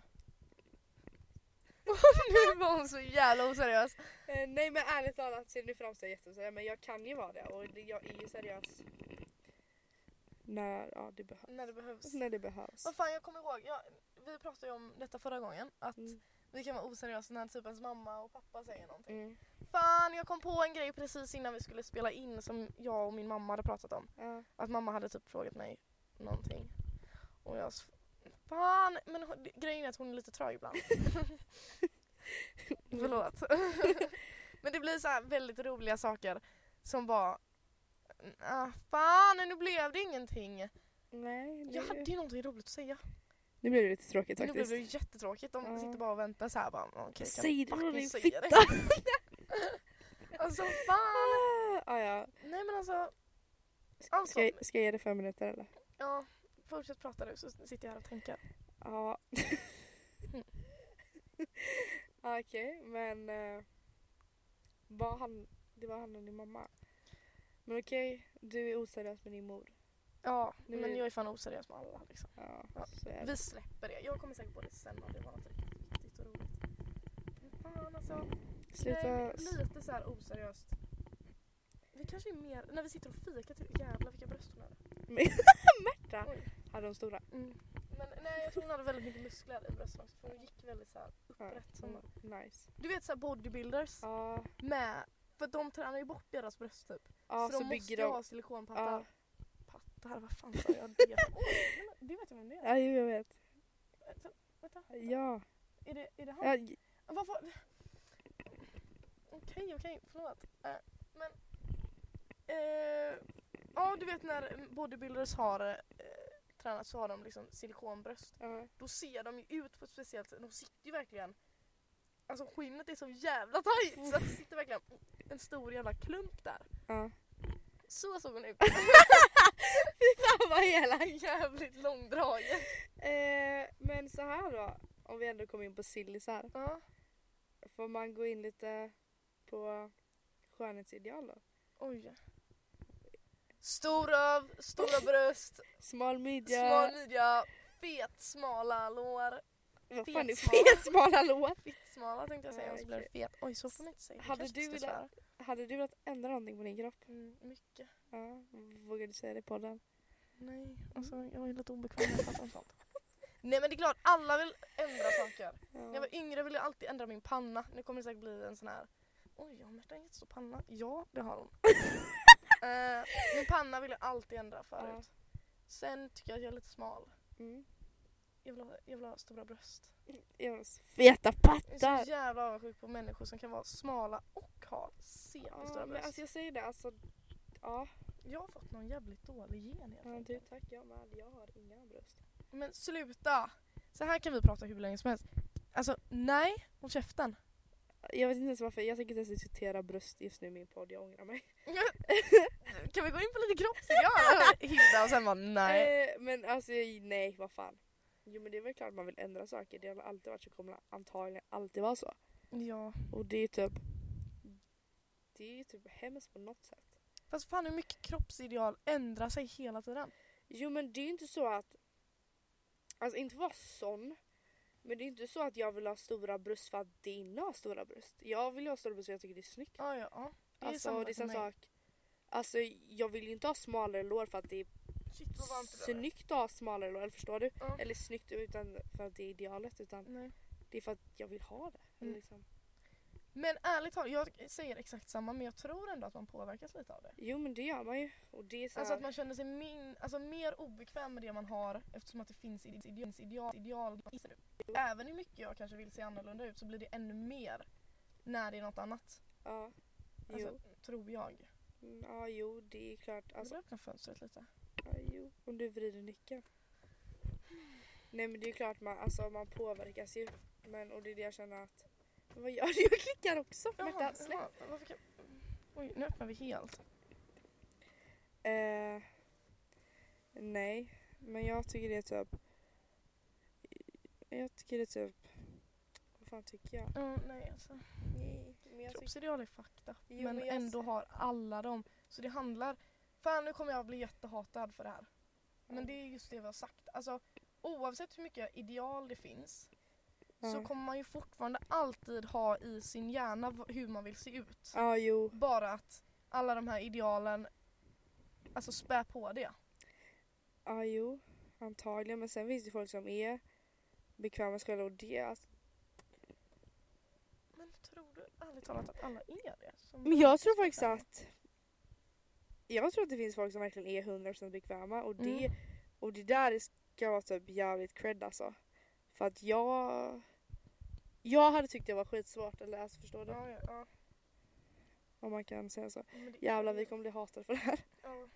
Speaker 2: nu var hon så jävla oseriös.
Speaker 1: eh, nej men ärligt talat, så nu framstår jag jätteoseriös men jag kan ju vara det och det- jag är ju seriös när ja, det behövs.
Speaker 2: När det behövs.
Speaker 1: När det behövs.
Speaker 2: Vad fan jag kommer ihåg, jag, vi pratade ju om detta förra gången att
Speaker 1: Mm.
Speaker 2: vi kan vara oseriösa när typ ens mamma och pappa säger någonting.
Speaker 1: Mm.
Speaker 2: Fan jag kom på en grej precis innan vi skulle spela in som jag och min mamma hade pratat om.
Speaker 1: Ja.
Speaker 2: Att mamma hade typ frågat mig någonting. Och jag s- Fan! Men hon- grejen är att hon är lite trög ibland. Förlåt. men det blir så här väldigt roliga saker som bara... Ah, fan, nu blev det ingenting.
Speaker 1: Nej, det,
Speaker 2: Jag hade ju någonting roligt att säga.
Speaker 1: nu blir det lite tråkigt
Speaker 2: Men nu blev
Speaker 1: faktiskt.
Speaker 2: det ju jättetråkigt. De
Speaker 1: Ja.
Speaker 2: sitter bara och väntar så här bara. Okej, kan
Speaker 1: Säg det då,
Speaker 2: fucking
Speaker 1: din
Speaker 2: säga det?" alltså fan!
Speaker 1: Ah, ah, ja.
Speaker 2: Nej men alltså. Alltså,
Speaker 1: Ska, jag- ska jag ge det fem minuter eller?
Speaker 2: ja. Fortsätt prata du så sitter jag här och tänker.
Speaker 1: Ja. Okej, men eh, vad han, det var han och din mamma. Men okej, du är oseriös med din mor.
Speaker 2: Ja,
Speaker 1: Nu
Speaker 2: men
Speaker 1: är-
Speaker 2: jag är fan oseriös med alla liksom.
Speaker 1: Ja,
Speaker 2: Ja,
Speaker 1: så är det.
Speaker 2: Vi släpper det. Jag kommer säkert på det sen om det var något riktigt viktigt och roligt. Men Fan alltså.
Speaker 1: Sluta.
Speaker 2: Nej, lite så här oseriöst. Vi kanske är mer, när vi sitter och fikar till jävlar vilka bröst hon hade.
Speaker 1: Märta
Speaker 2: Oj.
Speaker 1: hade de stora.
Speaker 2: Men nej jag tror hon hade väldigt mycket muskler i brösten också för hon gick väldigt så här
Speaker 1: Ja.
Speaker 2: upprätt. Som,
Speaker 1: Nice.
Speaker 2: du vet så här bodybuilders
Speaker 1: Ja,
Speaker 2: med, för de tränar ju bort deras bröst typ.
Speaker 1: ja
Speaker 2: så,
Speaker 1: så,
Speaker 2: de måste
Speaker 1: bygger
Speaker 2: ju
Speaker 1: de.
Speaker 2: ha silikonpattar.
Speaker 1: Ja.
Speaker 2: Pattar, vad fan sa jag det? Oj, nej, men det vet jag vem det är.
Speaker 1: Ja, jo, jag vet.
Speaker 2: Vänta, vänta.
Speaker 1: Ja.
Speaker 2: Är det, är det han?
Speaker 1: ja.
Speaker 2: Varför? Okej, okej, förlåt. Eh, men... eh, ja, du vet när bodybuilders har eh, tränat så har de liksom silikonbröst.
Speaker 1: ja.
Speaker 2: Då ser de ju ut på ett speciellt sätt. De sitter ju verkligen... Alltså skinnet är så jävla tajt så att det sitter verkligen en stor jävla klump där.
Speaker 1: ja.
Speaker 2: Så såg hon ut.
Speaker 1: Fan vad elak.
Speaker 2: Jävligt långdragen.
Speaker 1: Eh, men så här då. Om vi ändå kommer in på sillisar.
Speaker 2: Ja,
Speaker 1: Får man gå in lite på skönhetsideal då?
Speaker 2: oj. Stor röv, stora bröst,
Speaker 1: Smal midja.
Speaker 2: smal midja, fet smala lår.
Speaker 1: Vad fan är
Speaker 2: Fetsmala.
Speaker 1: fet smala låt?
Speaker 2: Fittsmala tänkte jag säga och så blev det fet. Oj så får man inte säga. Det
Speaker 1: Hade
Speaker 2: kanske
Speaker 1: du
Speaker 2: inte ska
Speaker 1: velat-
Speaker 2: svära.
Speaker 1: Hade du velat ändra någonting på din kropp?
Speaker 2: Mm, mycket.
Speaker 1: Ja. Vågar du säga det på den?
Speaker 2: Nej, alltså jag är lite obekväm när jag pratar om sånt. Nej men det är klart, alla vill ändra saker. När jag var yngre ville jag alltid ändra min panna. Nu kommer det säkert bli en sån här Oj, har Märta en jättestor panna? Ja, det har hon. Eh, min panna ville jag alltid ändra förut. Sen tycker jag att jag är lite smal.
Speaker 1: Mm.
Speaker 2: Jag vill ha, jag vill ha stora bröst.
Speaker 1: Jag har feta
Speaker 2: Jag är
Speaker 1: pattar!
Speaker 2: så jävla avundsjuk på människor som kan vara smala och ha
Speaker 1: Ja,
Speaker 2: CP-stora
Speaker 1: men
Speaker 2: bröst.
Speaker 1: alltså jag säger det alltså. Ja,
Speaker 2: Jag har fått någon jävligt dålig gen helt
Speaker 1: men typ.
Speaker 2: enkelt.
Speaker 1: du tack jag med. Jag har inga bröst.
Speaker 2: Men sluta! Så här kan vi prata hur länge som helst. Alltså nej, håll käften.
Speaker 1: Jag vet inte ens varför. Jag tänker inte ens diskutera bröst just nu i min podd. Jag ångrar mig.
Speaker 2: kan vi gå in på lite kroppsideal? Hilda och sen bara nej.
Speaker 1: Eh, men alltså nej, vad fan. Jo men det är väl klart man vill ändra saker. Det har alltid varit så kommer det antagligen alltid vara så.
Speaker 2: Ja.
Speaker 1: Och det är typ Det är ju typ hemskt på något sätt.
Speaker 2: Fast fan hur mycket kroppsideal ändrar sig hela tiden?
Speaker 1: Jo men det är ju inte så att Alltså inte vara sån Men det är inte så att jag vill ha stora bröst för att Dina har stora bröst Jag vill ju ha stora bröst för jag tycker det är snyggt
Speaker 2: Ja, ja, ja. Det är
Speaker 1: Alltså
Speaker 2: samma
Speaker 1: det är
Speaker 2: för
Speaker 1: samma
Speaker 2: mig.
Speaker 1: sak Alltså jag vill ju inte ha smalare lår för att det är
Speaker 2: Shit vad varmt det där är.
Speaker 1: snyggt att ha smalare lår, eller förstår du?
Speaker 2: Ja.
Speaker 1: Eller snyggt utan för att det är idealet utan
Speaker 2: Nej.
Speaker 1: det är för att jag vill ha det. Eller
Speaker 2: Mm.
Speaker 1: Liksom.
Speaker 2: Men ärligt talat, jag säger exakt samma men jag tror ändå att man påverkas lite av det.
Speaker 1: Jo men det gör man ju. Och det är så
Speaker 2: Alltså
Speaker 1: här,
Speaker 2: att man känner sig min, alltså mer obekväm med det man har eftersom att det finns ide- ide- ide- ideal, ideal i sig. Även hur mycket jag kanske vill se annorlunda ut så blir det ännu mer när det är något annat.
Speaker 1: ja. Jo.
Speaker 2: Alltså, tror jag.
Speaker 1: Mm, ja jo det är klart.
Speaker 2: Vill
Speaker 1: Alltså,
Speaker 2: du öppna fönstret lite?
Speaker 1: ja, jo. Om du vrider nyckeln. Nej men det är klart man, alltså, man påverkas ju. Men, och det är det jag känner att men vad gör du? Jag klickar också. Märta, släpp.
Speaker 2: jaha, varför kan... Oj, nu öppnar vi helt.
Speaker 1: Eh, nej, men jag tycker det är typ... Jag tycker det är typ... Vad fan tycker jag?
Speaker 2: Ja, nej alltså.
Speaker 1: Nej, men jag tycker...
Speaker 2: Kroppsideal är fakta.
Speaker 1: Jo,
Speaker 2: men
Speaker 1: men jag
Speaker 2: ändå har alla dem. Så det handlar... Fan nu kommer jag bli jättehatad för det här. Men det är just det vi har sagt. Alltså oavsett hur mycket ideal det finns så
Speaker 1: Ja,
Speaker 2: kommer man ju fortfarande alltid ha i sin hjärna v- hur man vill se ut.
Speaker 1: ja jo.
Speaker 2: Bara att alla de här idealen alltså spär på det.
Speaker 1: Ja, jo. Antagligen. Men sen finns det folk som är bekväma med sig själva och det... Alltså.
Speaker 2: Men tror du ärligt talat att alla är det? Som-
Speaker 1: Men jag tror faktiskt att... Jag tror att det finns folk som verkligen är 100% bekväma och det,
Speaker 2: Mm.
Speaker 1: och det där ska vara typ jävligt cred alltså. För att jag... Jag hade tyckt det var skitsvårt, eller alltså förstår du?
Speaker 2: Ja, ja, ja.
Speaker 1: Om man kan säga så.
Speaker 2: Men det är
Speaker 1: Jävlar
Speaker 2: ju-
Speaker 1: vi kommer bli hatade för det här.
Speaker 2: ja.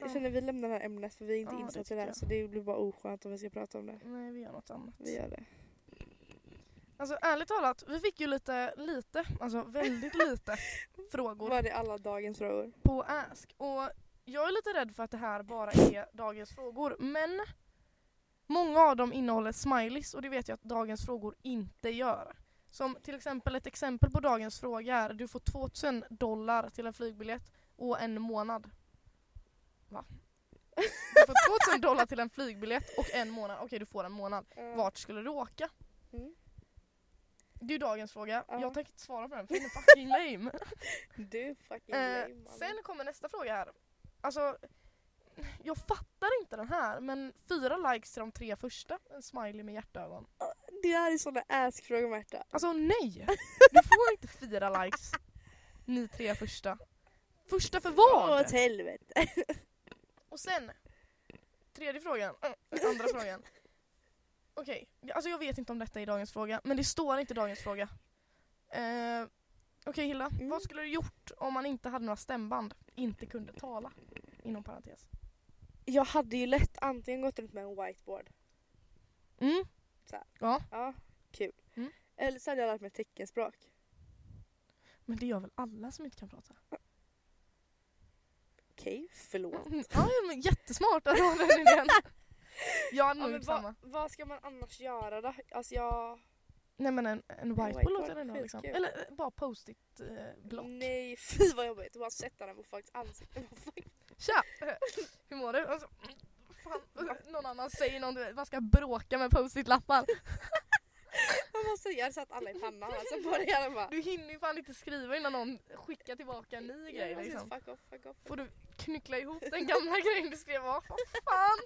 Speaker 1: Jag känner vi lämnar det här ämnet för vi är inte
Speaker 2: Ja, det
Speaker 1: insatta i
Speaker 2: tycker
Speaker 1: det här
Speaker 2: jag.
Speaker 1: så det blir bara oskönt om vi ska prata om det.
Speaker 2: Nej vi gör något annat.
Speaker 1: Vi gör det.
Speaker 2: Alltså ärligt talat, vi fick ju lite, lite, alltså väldigt lite frågor
Speaker 1: Var det alla dagens frågor?
Speaker 2: på Ask. Och jag är lite rädd för att det här bara är dagens frågor, men många av dem innehåller smileys och det vet jag att dagens frågor inte gör. Som till exempel ett exempel på dagens fråga är du får 2000 dollar till en flygbiljett och en månad. Va? Du får 2000 dollar till en flygbiljett och en månad. Okej, du får en månad.
Speaker 1: Eh,
Speaker 2: Vart skulle du åka?
Speaker 1: Mm.
Speaker 2: Det är ju dagens fråga.
Speaker 1: Ja.
Speaker 2: Jag tänker inte svara på den för den är fucking lame.
Speaker 1: Du fucking
Speaker 2: Eh,
Speaker 1: lame. Amanda.
Speaker 2: sen kommer nästa fråga här. Alltså, jag fattar inte den här men fyra likes till de tre första. En smiley med hjärtögon.
Speaker 1: Det här är sådana askfrågor Märta.
Speaker 2: Alltså nej! Du får inte fyra likes. Ni tre första. Första för
Speaker 1: Åh,
Speaker 2: vad?
Speaker 1: åt helvete.
Speaker 2: Och sen, tredje frågan. äh, Andra frågan. Okej, alltså jag vet inte om detta är dagens fråga, men det står inte dagens fråga. Eh, Okej Hilla,
Speaker 1: Mm.
Speaker 2: vad skulle du gjort om man inte hade några stämband? Inte kunde tala? Inom parentes.
Speaker 1: Jag hade ju lätt antingen gått runt med en whiteboard.
Speaker 2: Mm.
Speaker 1: Så här.
Speaker 2: Ja,
Speaker 1: Ja, kul.
Speaker 2: Mm.
Speaker 1: Eller så hade jag lärt mig teckenspråk.
Speaker 2: men det gör väl alla som inte kan prata?
Speaker 1: Okej, förlåt.
Speaker 2: Mm. Ja, men jättesmart att ha den idén. Jag
Speaker 1: Ja,
Speaker 2: hade nog
Speaker 1: men
Speaker 2: gjort
Speaker 1: vad,
Speaker 2: Mm, typ samma.
Speaker 1: vad ska man annars göra då? Alltså jag...
Speaker 2: Nej men en, en whiteboard
Speaker 1: whiteboard, Mm.
Speaker 2: låter det ändå liksom.
Speaker 1: skitkul.
Speaker 2: Eller eh, bara post-it eh, block.
Speaker 1: Nej, fy vad jobbigt. Bara sätta den på folks ansikte. Vad fan?
Speaker 2: Tja! Eh, Hur mår du? Alltså, mm, fan, eh, någon annan säger någonting, man ska bråka med post-it lappar.
Speaker 1: Vad man säger? Jag hade satt alla i pannan alltså på det hela bara.
Speaker 2: Du hinner ju fan inte skriva innan någon skickar tillbaka en ny grej
Speaker 1: Ja, precis.
Speaker 2: liksom.
Speaker 1: Fuck off, fuck off.
Speaker 2: Får du knyckla ihop den gamla grejen du skrev av. Vad fan!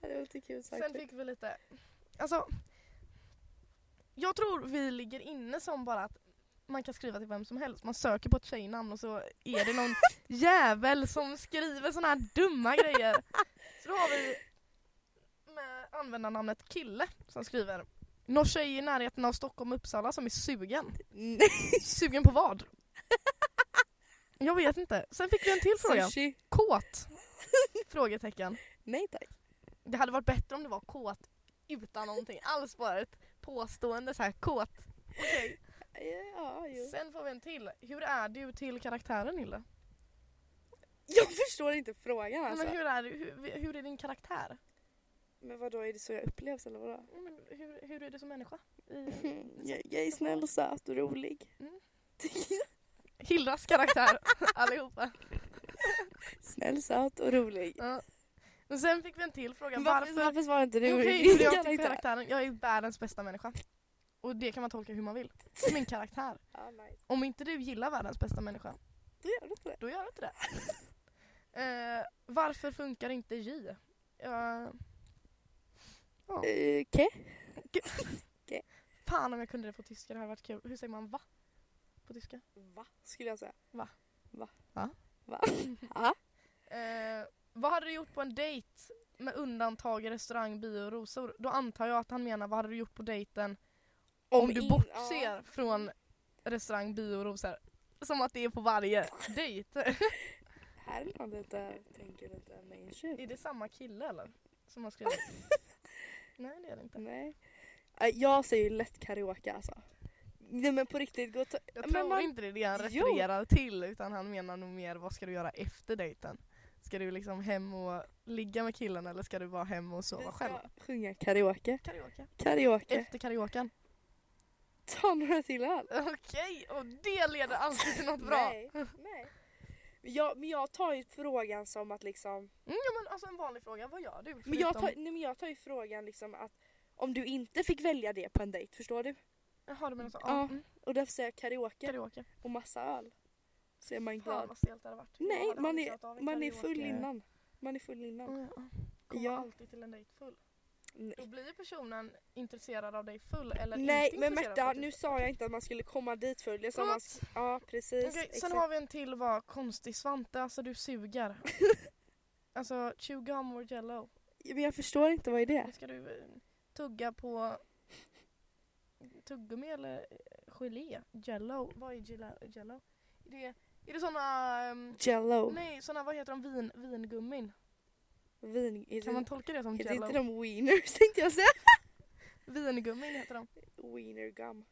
Speaker 1: Ja, Det var lite kul sagt.
Speaker 2: Sen fick vi lite, alltså. Jag tror vi ligger inne som bara att man kan skriva till vem som helst. Man söker på ett tjejnamn och så är det någon jävel som skriver såna här dumma grejer. Så då har vi med användarnamnet kille som skriver Någon tjej i närheten av Stockholm och Uppsala som är sugen.
Speaker 1: Nej,
Speaker 2: Sugen på vad? Jag vet inte. Sen fick vi en till fråga.
Speaker 1: sushi.
Speaker 2: Kåt? Frågetecken.
Speaker 1: Nej tack.
Speaker 2: Det hade varit bättre om det var kåt utan någonting alls, bara ett påstående så här kåt. Okej.
Speaker 1: Ja, Ja, jo.
Speaker 2: Sen får vi en till. Hur är du till karaktären Hilde?
Speaker 1: Jag förstår inte frågan
Speaker 2: Nej,
Speaker 1: alltså.
Speaker 2: Men
Speaker 1: Men,
Speaker 2: hur är, du, hur, hur är din karaktär?
Speaker 1: vadå, är det så jag upplevs eller vadå?
Speaker 2: Ja, men Hur, hur är du som människa?
Speaker 1: Jag, jag är snäll och söt och rolig.
Speaker 2: Mm. Hildas karaktär, allihopa.
Speaker 1: snäll, söt och rolig.
Speaker 2: Ja. Men sen fick vi en till fråga.
Speaker 1: Varför,
Speaker 2: Varför?
Speaker 1: varför svarar inte du
Speaker 2: Jo, Okej,
Speaker 1: din
Speaker 2: för jag till
Speaker 1: karaktär?
Speaker 2: karaktären. Jag är världens bästa människa. Och det kan man tolka hur man vill. Det är min karaktär.
Speaker 1: Ja, nice.
Speaker 2: Om inte du gillar världens bästa människa,
Speaker 1: Då gör du inte det.
Speaker 2: Då gör det inte det. Eh, varför funkar inte J? Eh,
Speaker 1: Eh, Okej.
Speaker 2: fan om jag kunde det på tyska, det hade varit kul. Hur säger man va? På tyska?
Speaker 1: Va? Skulle jag säga.
Speaker 2: Va?
Speaker 1: Va?
Speaker 2: Va?
Speaker 1: Va? Ah. Va?
Speaker 2: Eh, vad hade du gjort på en dejt med undantag i restaurang, bio och rosor? Då antar jag att han menar vad hade du gjort på dejten om, du
Speaker 1: in-
Speaker 2: bortser
Speaker 1: ja.
Speaker 2: från restaurang, bio och rosor? Som att det är på varje dejt.
Speaker 1: Här är man lite, tänker lite mainstream.
Speaker 2: är det samma kille eller? Som har skrivit? Nej det är det inte.
Speaker 1: Nej. Eh, Jag säger ju lätt karaoke alltså. Nej men på riktigt, gå och ta...
Speaker 2: Jag
Speaker 1: Men
Speaker 2: tror
Speaker 1: man-
Speaker 2: inte det är det han
Speaker 1: Jo.
Speaker 2: refererar till utan han menar nog mer vad ska du göra efter dejten? Ska du liksom hem och ligga med killen eller ska du bara hem och
Speaker 1: Vi
Speaker 2: sova
Speaker 1: ska
Speaker 2: själv?
Speaker 1: Sjunga karaoke.
Speaker 2: Karaoke.
Speaker 1: Karaoke.
Speaker 2: Efter karaoken.
Speaker 1: Ta några till öl.
Speaker 2: Okej, och det leder alltid till något bra.
Speaker 1: Nej. nej. Men Jag, men jag tar ju frågan som att liksom...
Speaker 2: Mm, ja, men alltså en vanlig fråga, vad gör du?
Speaker 1: Men jag,
Speaker 2: förutom-
Speaker 1: tar, nej, men jag tar ju frågan liksom att om du inte fick välja det på en dejt, förstår du?
Speaker 2: Jaha, du menar så?
Speaker 1: Ja.
Speaker 2: Ja. Mm,
Speaker 1: Och därför säger jag karaoke
Speaker 2: karaoke.
Speaker 1: och massa öl. Så är man
Speaker 2: Fan
Speaker 1: glad.
Speaker 2: vad stelt det hade varit. Jag
Speaker 1: Nej,
Speaker 2: hade
Speaker 1: man
Speaker 2: aldrig
Speaker 1: är,
Speaker 2: klarat av en
Speaker 1: man är
Speaker 2: karaoke.
Speaker 1: full innan. Man är full innan.
Speaker 2: Mm, ja. Kommer
Speaker 1: Ja.
Speaker 2: alltid till en dejt full.
Speaker 1: Nej.
Speaker 2: Då blir ju personen intresserad av dig full eller
Speaker 1: Nej
Speaker 2: inte
Speaker 1: men
Speaker 2: intresserad
Speaker 1: Märta,
Speaker 2: faktiskt.
Speaker 1: nu sa jag inte att man skulle komma dit full. Jag sa
Speaker 2: Förlåt.
Speaker 1: man sk- ja precis.
Speaker 2: Mm. Okej, sen
Speaker 1: exakt.
Speaker 2: har vi en till var konstig Svante, alltså du suger. alltså chew gum or jello.
Speaker 1: Men jag förstår inte, vad är det?
Speaker 2: Nu ska du eh, tugga på tuggummi eller eh, gelé? Jello, vad är gela- jello? Är det, är det såna, ehm,
Speaker 1: Jello.
Speaker 2: nej såna vad heter de, vin, vingummin?
Speaker 1: Vin. Är
Speaker 2: Kan man
Speaker 1: det,
Speaker 2: tolka det som
Speaker 1: är det inte
Speaker 2: jello?
Speaker 1: de wieners tänkte jag säga?
Speaker 2: Vingummin heter de.
Speaker 1: Wiener gum.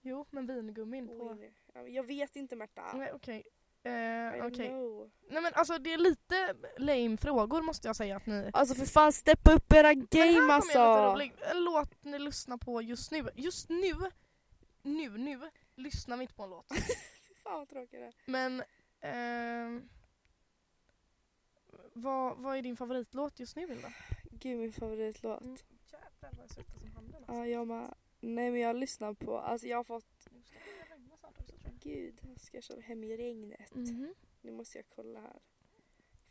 Speaker 2: Jo, men vingummin på.
Speaker 1: Wiener. Ja, men Jag vet inte Märta.
Speaker 2: Nej okej.
Speaker 1: Oh, I
Speaker 2: Eh,
Speaker 1: don't
Speaker 2: okej.
Speaker 1: know.
Speaker 2: Nej men alltså det är lite lame frågor måste jag säga att ni
Speaker 1: Alltså för fan steppa upp era
Speaker 2: Men
Speaker 1: game
Speaker 2: här kommer en lite
Speaker 1: alltså.
Speaker 2: rolig låt ni lyssnar på just nu. Just nu, nu, nu, lyssnar vi inte på en låt.
Speaker 1: Fan vad tråkigt det är.
Speaker 2: Men Ehm, vad, vad är din favoritlåt just nu Vilda?
Speaker 1: Gud min favoritlåt.
Speaker 2: Mm. Jävlar vad jag svettas om handen alltså.
Speaker 1: Ja jag med. Nej men jag lyssnar på, alltså jag har fått,
Speaker 2: Nu ska det börja regna snart också tror
Speaker 1: gud jag ska köra hem i regnet.
Speaker 2: jag. Mhm.
Speaker 1: Nu måste jag kolla här.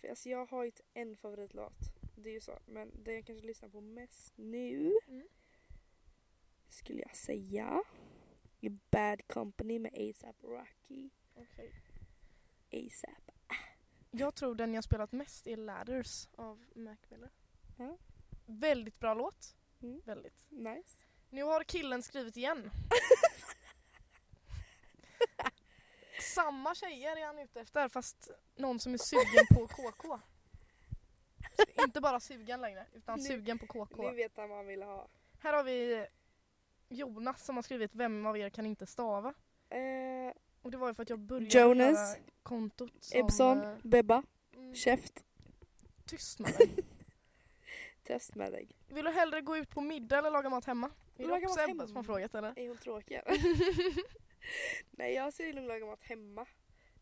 Speaker 1: För alltså jag har inte en favoritlåt. Det är ju så. Men det jag kanske lyssnar på mest nu.
Speaker 2: Mm.
Speaker 1: Skulle jag säga. är Bad Company med ASAP Rocky.
Speaker 2: Okej.
Speaker 1: ASAP.
Speaker 2: Jag tror den jag spelat mest är Ladders av Mac Miller.
Speaker 1: Ja.
Speaker 2: Väldigt bra låt.
Speaker 1: Mm.
Speaker 2: Väldigt.
Speaker 1: Nice.
Speaker 2: Nu har killen skrivit igen. Samma tjejer är han ute efter fast någon som är sugen på KK. Inte bara sugen längre utan
Speaker 1: Nu-
Speaker 2: sugen på KK.
Speaker 1: Nu vet han vad han ville ha.
Speaker 2: Här har vi Jonas som har skrivit Vem av er kan inte stava?
Speaker 1: Eh,
Speaker 2: Och det var ju för att jag började
Speaker 1: Jonas,
Speaker 2: göra kontot som...
Speaker 1: Ebson,
Speaker 2: eh,
Speaker 1: Bebba,
Speaker 2: mm,
Speaker 1: Käft.
Speaker 2: Tyst med dig.
Speaker 1: Test med dig.
Speaker 2: Vill du hellre gå ut på middag eller laga mat hemma? Är det
Speaker 1: Laga
Speaker 2: också
Speaker 1: mat
Speaker 2: Ebba som
Speaker 1: hemma.
Speaker 2: har frågat eller?
Speaker 1: Är hon tråkig? Nej jag ser till att laga mat hemma.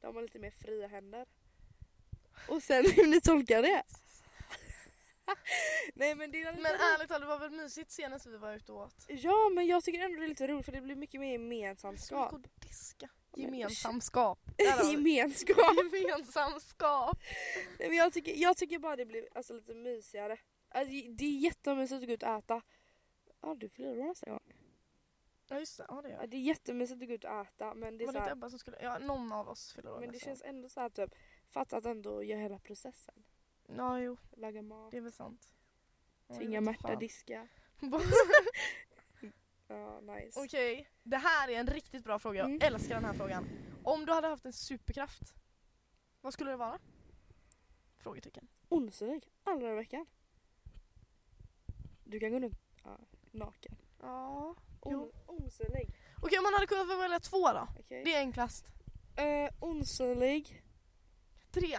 Speaker 1: De har lite mer fria händer. Och sen hur ni tolkar det. Nej men det är lite
Speaker 2: Men
Speaker 1: roligt.
Speaker 2: ärligt talat det var väl mysigt senast vi var ute och åt?
Speaker 1: Ja men jag tycker ändå det är lite roligt för det blir mycket mer
Speaker 2: Ska
Speaker 1: gemensamskap.
Speaker 2: vi gå och diska?
Speaker 1: men-
Speaker 2: Gemensamskap. Där har vi.
Speaker 1: gemenskap!
Speaker 2: Gemensamskap.
Speaker 1: Nej, men jag, tycker, jag tycker bara det blir alltså, lite mysigare. Alltså, det är jättemysigt att gå ut och äta. Ja du fyller år nästa gång.
Speaker 2: Ja just det, ja det gör
Speaker 1: Ja,
Speaker 2: jag.
Speaker 1: det är jättemysigt att gå ut och äta men det, är
Speaker 2: Var
Speaker 1: så
Speaker 2: det inte
Speaker 1: här,
Speaker 2: Ebba som skulle, ja någon av oss fyller år
Speaker 1: men det
Speaker 2: nästa
Speaker 1: känns ändå så här typ, fatta att ändå göra hela processen.
Speaker 2: år. Ja jo,
Speaker 1: Laga mat.
Speaker 2: det är väl sant. Ja,
Speaker 1: Tvinga
Speaker 2: jag vet
Speaker 1: Märta
Speaker 2: fan.
Speaker 1: diska. Ja, nice.
Speaker 2: Okej, det här är en riktigt bra fråga. Jag
Speaker 1: Mm.
Speaker 2: älskar den här frågan. Om du hade haft en superkraft, vad skulle det vara? Frågetecken.
Speaker 1: Onsdag, alla dagar i veckan. Du kan gå runt ja, naken.
Speaker 2: Ja.
Speaker 1: On,
Speaker 2: Jo.
Speaker 1: onsdag,
Speaker 2: Okej, om man hade kunnat välja två då?
Speaker 1: okej.
Speaker 2: Det är enklast.
Speaker 1: Eh, onsdag,
Speaker 2: Tre.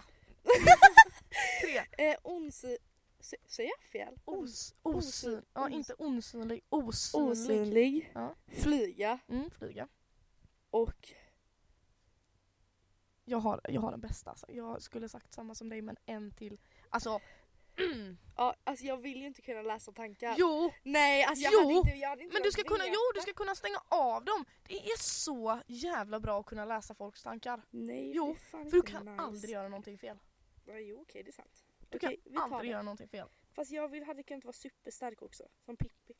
Speaker 2: Tre.
Speaker 1: eh, onsdag, se- säger jag fel?
Speaker 2: Os, osyn,
Speaker 1: Osyn-
Speaker 2: ja
Speaker 1: os-
Speaker 2: inte osynlig, osynlig.
Speaker 1: Osynlig,
Speaker 2: Ja.
Speaker 1: flyga
Speaker 2: Mm, flyga.
Speaker 1: och
Speaker 2: Jag har, jag har den bästa alltså. Jag skulle sagt samma som dig men en till. Alltså,
Speaker 1: ja, alltså jag vill ju inte kunna läsa tankar.
Speaker 2: jo!
Speaker 1: Nej, alltså jag
Speaker 2: Jo,
Speaker 1: hade inte, jag hade inte
Speaker 2: Men du
Speaker 1: velat
Speaker 2: ska kunna,
Speaker 1: veta.
Speaker 2: jo du ska kunna stänga av dem. Det är så jävla bra att kunna läsa folks tankar.
Speaker 1: Nej,
Speaker 2: Jo,
Speaker 1: fy fan
Speaker 2: För du
Speaker 1: inte
Speaker 2: kan
Speaker 1: nice.
Speaker 2: aldrig göra någonting fel.
Speaker 1: Ja, jo, okej det är sant.
Speaker 2: Du
Speaker 1: Okej, vi
Speaker 2: kan
Speaker 1: tar
Speaker 2: aldrig
Speaker 1: det.
Speaker 2: göra någonting fel.
Speaker 1: Fast jag vill, hade kunnat vara superstark också, som Pippi.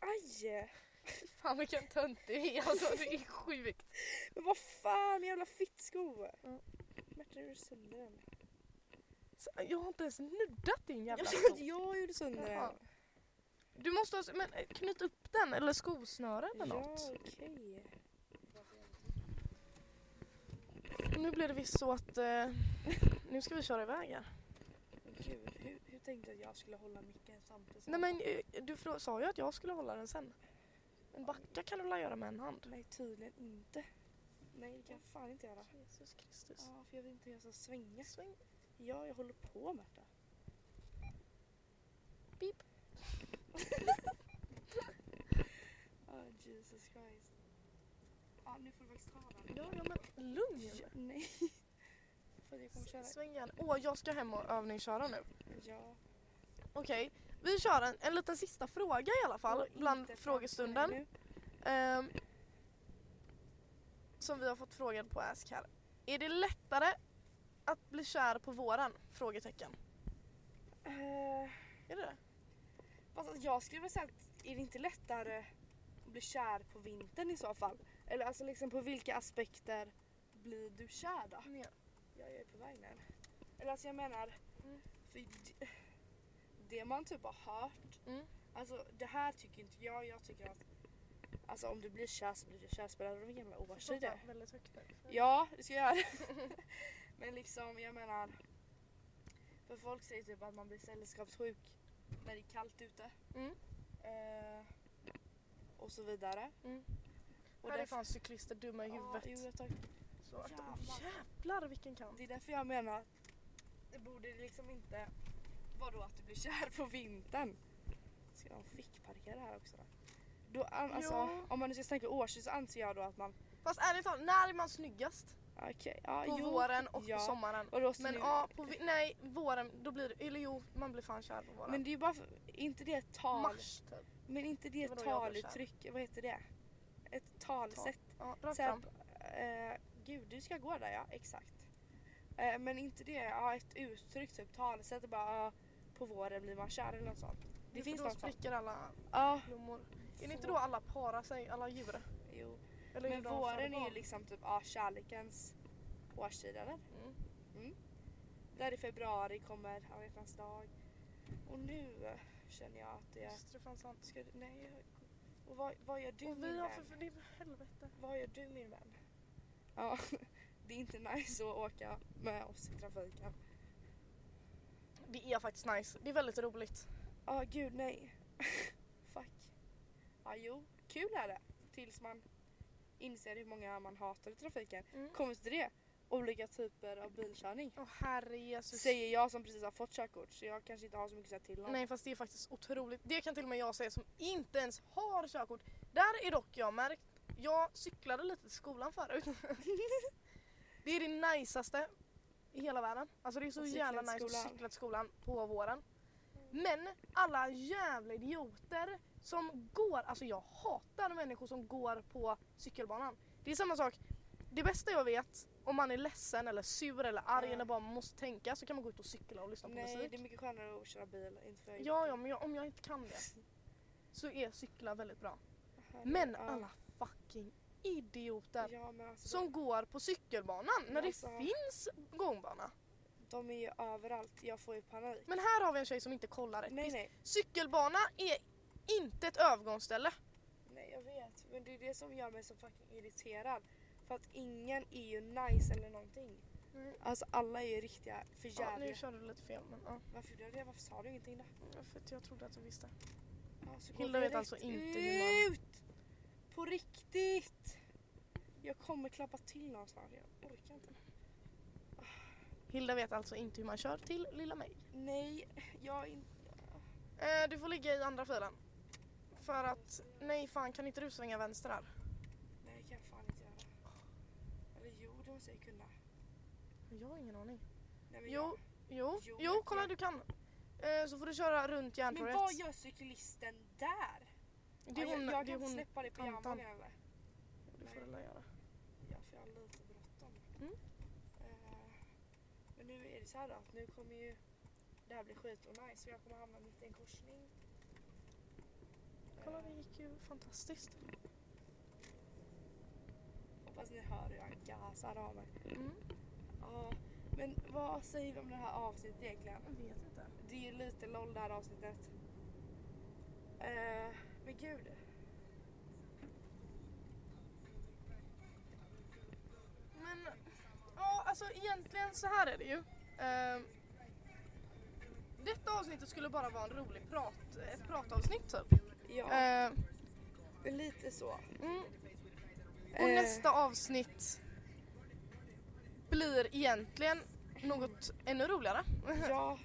Speaker 1: Aj!
Speaker 2: Fan vilken tönt du är alltså, det är sjukt.
Speaker 1: Men vad fan jävla fittsko!
Speaker 2: Ja.
Speaker 1: Märta gjorde sönder den.
Speaker 2: Så, Jag har inte ens nuddat din jävla
Speaker 1: Jag
Speaker 2: sko.
Speaker 1: sa att jag gjorde sönder
Speaker 2: Jaha.
Speaker 1: den.
Speaker 2: Du måste ha, men eh, knyt upp den eller skosnören eller
Speaker 1: Ja,
Speaker 2: något.
Speaker 1: okej.
Speaker 2: Nu blir det visst så att eh, nu ska vi köra iväg här.
Speaker 1: Gud, hur, hur tänkte jag att jag skulle hålla micken samtidigt? som-
Speaker 2: Nej men eh, du frå- sa ju att jag skulle hålla den sen. En backa kan du väl göra med en hand?
Speaker 1: Nej, tydligen inte. Nej, det kan jag fan inte göra.
Speaker 2: Jesus Kristus.
Speaker 1: Ja, för jag vet inte hur jag ska svänga.
Speaker 2: Sväng.
Speaker 1: Ja, jag håller på Märta.
Speaker 2: Beep.
Speaker 1: oh, Jesus Christ. Ja, nu får du faktiskt ta den.
Speaker 2: Ja, ja men lugn.
Speaker 1: Ja, nej. För jag kommer köra.
Speaker 2: Sväng igen. Åh, jag ska hem och övningsköra nu.
Speaker 1: Ja.
Speaker 2: Okej, vi kör en, en liten sista fråga i alla fall bland
Speaker 1: Inte
Speaker 2: frågestunden.
Speaker 1: framför nu.
Speaker 2: Ehm, som vi har fått frågan på Ask här. Är det lättare att bli kär på våren? Frågetecken.
Speaker 1: Eh,
Speaker 2: Är det det?
Speaker 1: Fast alltså, jag skulle väl säga att är det inte lättare att bli kär på vintern i så fall? Eller alltså liksom på vilka aspekter blir du kär då?
Speaker 2: Mer.
Speaker 1: Ja, jag är på väg nu. Eller alltså jag menar,
Speaker 2: Mm.
Speaker 1: för d- det man typ har hört,
Speaker 2: Mm.
Speaker 1: alltså det här tycker inte jag, jag tycker att alltså om du blir kär så blir du kär, spelar det någon jävla oavsett det?
Speaker 2: Prata Väldigt högt nu.
Speaker 1: Ja, det ska jag göra. Men liksom, jag menar. För folk säger typ att man blir sällskapssjuk när det är kallt ute.
Speaker 2: Mm.
Speaker 1: Eh, och så vidare.
Speaker 2: Mm.
Speaker 1: Och
Speaker 2: här är
Speaker 1: därför-
Speaker 2: fan cyklister dumma i
Speaker 1: Ja,
Speaker 2: huvudet.
Speaker 1: jo, jag tar,
Speaker 2: så att,
Speaker 1: jävlar.
Speaker 2: Åh, jävlar vilken kant.
Speaker 1: det är därför jag menar att det borde liksom inte vara då att du blir kär på vintern. Ska de fickparkera här också då? då an, alltså,
Speaker 2: Ja.
Speaker 1: Om man nu ska snacka årstid så anser jag då att man...
Speaker 2: Fast ärligt talat, när är man snyggast?
Speaker 1: Ja, Okej, ja
Speaker 2: På
Speaker 1: jo.
Speaker 2: våren och
Speaker 1: ja.
Speaker 2: på sommaren.
Speaker 1: Och då ska
Speaker 2: Men
Speaker 1: ni-
Speaker 2: ja, på, vi- nej våren då blir det, eller jo man blir fan kär på våren.
Speaker 1: Men det är ju bara för, inte det ett tal.
Speaker 2: Mars typ.
Speaker 1: Men inte det ett
Speaker 2: Vadå, jag blir
Speaker 1: taluttryck, vad heter det? Ett talsätt.
Speaker 2: Ja, rakt
Speaker 1: Så här,
Speaker 2: fram.
Speaker 1: eh, gud du ska gå där ja, exakt. Eh, men inte det, ja, ett uttryck typ talesätt det är bara ja, på våren blir man kär eller något sånt. Det
Speaker 2: För
Speaker 1: finns
Speaker 2: då
Speaker 1: något sånt.
Speaker 2: spricker alla
Speaker 1: Ja,
Speaker 2: blommor. Är det inte då alla parar sig, alla djur?
Speaker 1: jo.
Speaker 2: Eller
Speaker 1: Men
Speaker 2: hur de föder
Speaker 1: våren är ju
Speaker 2: barn?
Speaker 1: liksom typ ja, kärlekens årstid eller?
Speaker 2: Mm.
Speaker 1: Mm. Där i februari kommer alla hjärtans dag. Och nu eh, känner jag att det är...
Speaker 2: Just det, fan sant.
Speaker 1: Ska du, nej, jag- och vad, vad gör du
Speaker 2: Och
Speaker 1: min
Speaker 2: vi har
Speaker 1: vän?
Speaker 2: för, för det är helvete.
Speaker 1: Vad gör du min vän? Ja, det är inte nice att åka med oss i trafiken.
Speaker 2: Det är faktiskt nice. Det är väldigt roligt.
Speaker 1: Ja, gud nej. Fuck. Ja, jo, kul är det. Tills man inser hur många man hatar i trafiken.
Speaker 2: Mm.
Speaker 1: Kommer till det, olika typer av bilkörning.
Speaker 2: Åh herre Jesus.
Speaker 1: Säger jag som precis har fått körkort så jag kanske inte har så mycket att säga till om.
Speaker 2: Nej fast det är faktiskt otroligt. Det kan till och med jag säga som inte ens har körkort. Där är dock jag märkt. Jag cyklade lite till skolan förut. det är det najsaste i hela världen. Alltså det är så
Speaker 1: Att cykla
Speaker 2: jävla
Speaker 1: till
Speaker 2: nice att
Speaker 1: skolan. Mm.
Speaker 2: cykla till skolan på våren. Men alla jävla idioter som går, alltså jag hatar människor som går på cykelbanan. Det är samma sak, det bästa jag vet om man är ledsen eller sur eller arg
Speaker 1: Ja.
Speaker 2: eller bara måste tänka så kan man gå ut och cykla och lyssna på
Speaker 1: Nej,
Speaker 2: musik.
Speaker 1: det är mycket skönare att köra bil. Inte för jag
Speaker 2: Ja, ja men jag, om jag inte kan det så är cykla väldigt bra.
Speaker 1: Herre,
Speaker 2: Men
Speaker 1: ja.
Speaker 2: alla fucking idioter
Speaker 1: Ja, men alltså,
Speaker 2: som går på cykelbanan när det
Speaker 1: Alltså.
Speaker 2: finns gångbana.
Speaker 1: de, de är ju överallt. Jag får ju panik.
Speaker 2: Men här har vi en tjej som inte kollar rätt.
Speaker 1: Nej, nej,
Speaker 2: Cykelbana är inte ett övergångsställe.
Speaker 1: nej, jag vet. Men det är det som gör mig så fucking irriterad. För att ingen är ju nice eller någonting.
Speaker 2: Mm.
Speaker 1: Alltså alla är ju riktiga
Speaker 2: Ja, nu
Speaker 1: förjävliga.
Speaker 2: körde du lite fel men ja.
Speaker 1: Varför gjorde jag det? Varför sa du ingenting då?
Speaker 2: För att jag trodde att du visste.
Speaker 1: Ja, så går
Speaker 2: Hilda
Speaker 1: vi
Speaker 2: vet alltså
Speaker 1: direkt
Speaker 2: inte hur man-
Speaker 1: Ut! På riktigt! Jag kommer klappa till någon snart. Jag orkar inte.
Speaker 2: Hilda vet alltså inte hur man kör till lilla mig.
Speaker 1: Nej, jag är inte...
Speaker 2: Eh, du får ligga i andra filen. För att, nej fan kan inte du svänga vänster här?
Speaker 1: Nej, det kan jag fan inte göra. Eller jo, det måste jag ju kunna.
Speaker 2: Jag har ingen aning.
Speaker 1: Nej, men
Speaker 2: Jo, jo,
Speaker 1: Jo,
Speaker 2: jo,
Speaker 1: vet
Speaker 2: kolla
Speaker 1: jag.
Speaker 2: du kan. Eh, så får du köra runt
Speaker 1: jag... Men
Speaker 2: järntorget.
Speaker 1: vad gör cyklisten där?
Speaker 2: Det är
Speaker 1: Ja,
Speaker 2: hon,
Speaker 1: jag, jag kan
Speaker 2: det är
Speaker 1: inte
Speaker 2: hon.
Speaker 1: släppa det på
Speaker 2: tantan.
Speaker 1: jamman eller?
Speaker 2: Det får du väl göra.
Speaker 1: Ja, för jag har lite bråttom.
Speaker 2: Mm.
Speaker 1: Eh, men nu är det så här då, att nu kommer ju det här bli skit och nice och jag kommer hamna mitt i en korsning.
Speaker 2: Kolla
Speaker 1: Eh,
Speaker 2: det gick ju fantastiskt.
Speaker 1: Eh, hoppas ni hör hur jag gasar av mig.
Speaker 2: Mm.
Speaker 1: Ja, men vad säger vi om det här avsnittet egentligen?
Speaker 2: Jag vet inte.
Speaker 1: Det är ju lite LOL det här avsnittet. Eh, men gud.
Speaker 2: Men ja, alltså egentligen så här är det ju. Ehm, detta avsnittet skulle bara vara en rolig prat, ett pratavsnitt typ.
Speaker 1: Ja,
Speaker 2: Ehm,
Speaker 1: lite så.
Speaker 2: mm, och
Speaker 1: Eh,
Speaker 2: nästa avsnitt blir egentligen något ännu roligare.
Speaker 1: Ja,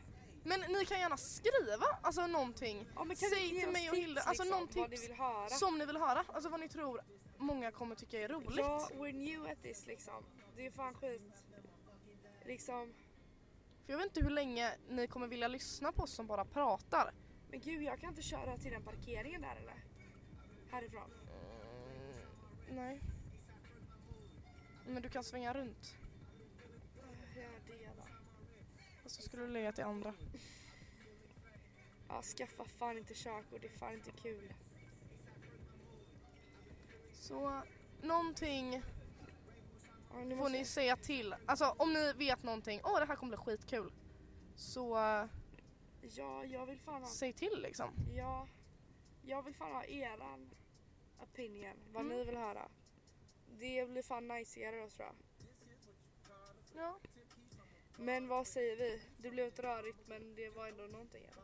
Speaker 2: Men ni kan gärna skriva alltså någonting
Speaker 1: ja men kan
Speaker 2: Säg
Speaker 1: ni ge
Speaker 2: till
Speaker 1: oss
Speaker 2: mig och
Speaker 1: tips,
Speaker 2: Hilda, alltså
Speaker 1: liksom,
Speaker 2: någon
Speaker 1: vad ni
Speaker 2: tips
Speaker 1: vill höra?
Speaker 2: som ni vill höra. Alltså vad ni tror många kommer tycka är roligt.
Speaker 1: Ja, we're new at this liksom. Det är fan skit. Liksom,
Speaker 2: För jag vet inte hur länge ni kommer vilja lyssna på oss som bara pratar.
Speaker 1: men gud jag kan inte köra till den parkeringen där eller? Härifrån.
Speaker 2: Nej. Men du kan svänga runt.
Speaker 1: Ja, det då.
Speaker 2: Och så skulle du lägga till andra.
Speaker 1: Ja, skaffa fan inte körkort, det är fan inte kul.
Speaker 2: Så någonting
Speaker 1: Ja, nu
Speaker 2: får
Speaker 1: måste-
Speaker 2: ni säga till. Alltså om ni vet någonting. Åh det här kommer bli skitkul. Så eh,
Speaker 1: Ja, jag vill fan ha...
Speaker 2: säg till liksom.
Speaker 1: Ja, jag vill fan ha eran opinion, vad
Speaker 2: Mm.
Speaker 1: ni vill höra. Det blir fan najsigare då tror jag.
Speaker 2: Ja.
Speaker 1: Men vad säger vi? Det blev inte rörigt men det var ändå någonting. eller?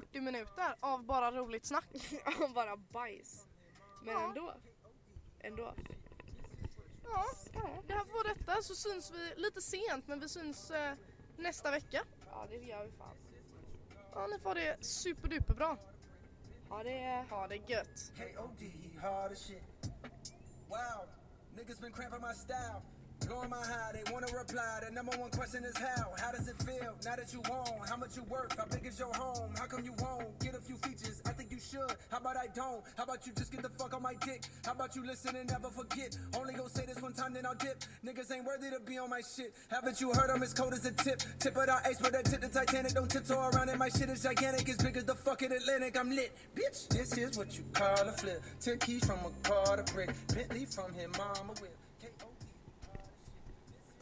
Speaker 2: 40 minuter av bara roligt snack.
Speaker 1: Ja, bara bajs. Men
Speaker 2: Ja.
Speaker 1: ändå. Ändå.
Speaker 2: Ja. Det här var detta så syns vi lite sent men vi syns eh, nästa vecka.
Speaker 1: Ja, det gör vi fan.
Speaker 2: Ja ni får det superduperbra.
Speaker 1: Ha det.
Speaker 2: Ha det gött.
Speaker 4: K.O.D. hard as shit. Wow, niggas been cramping my style. Going my high, they wanna reply. The number one question is how? How does it feel now that you own? How much you worth? How big is your home? How come you won't get a few features? I think you should. How about I don't? How about you just get the fuck on my dick? How about you listen and never forget? Only go say this one time, then I'll dip. Niggas ain't worthy to be on my shit. Haven't you heard I'm as cold as a tip? Tip of the ice with that tip the Titanic. Don't tiptoe around it. My shit is gigantic, as big as the fucking Atlantic. I'm lit, bitch. This is what you call a flip. Ten keys from a car to brick. Bentley from him, mama whip.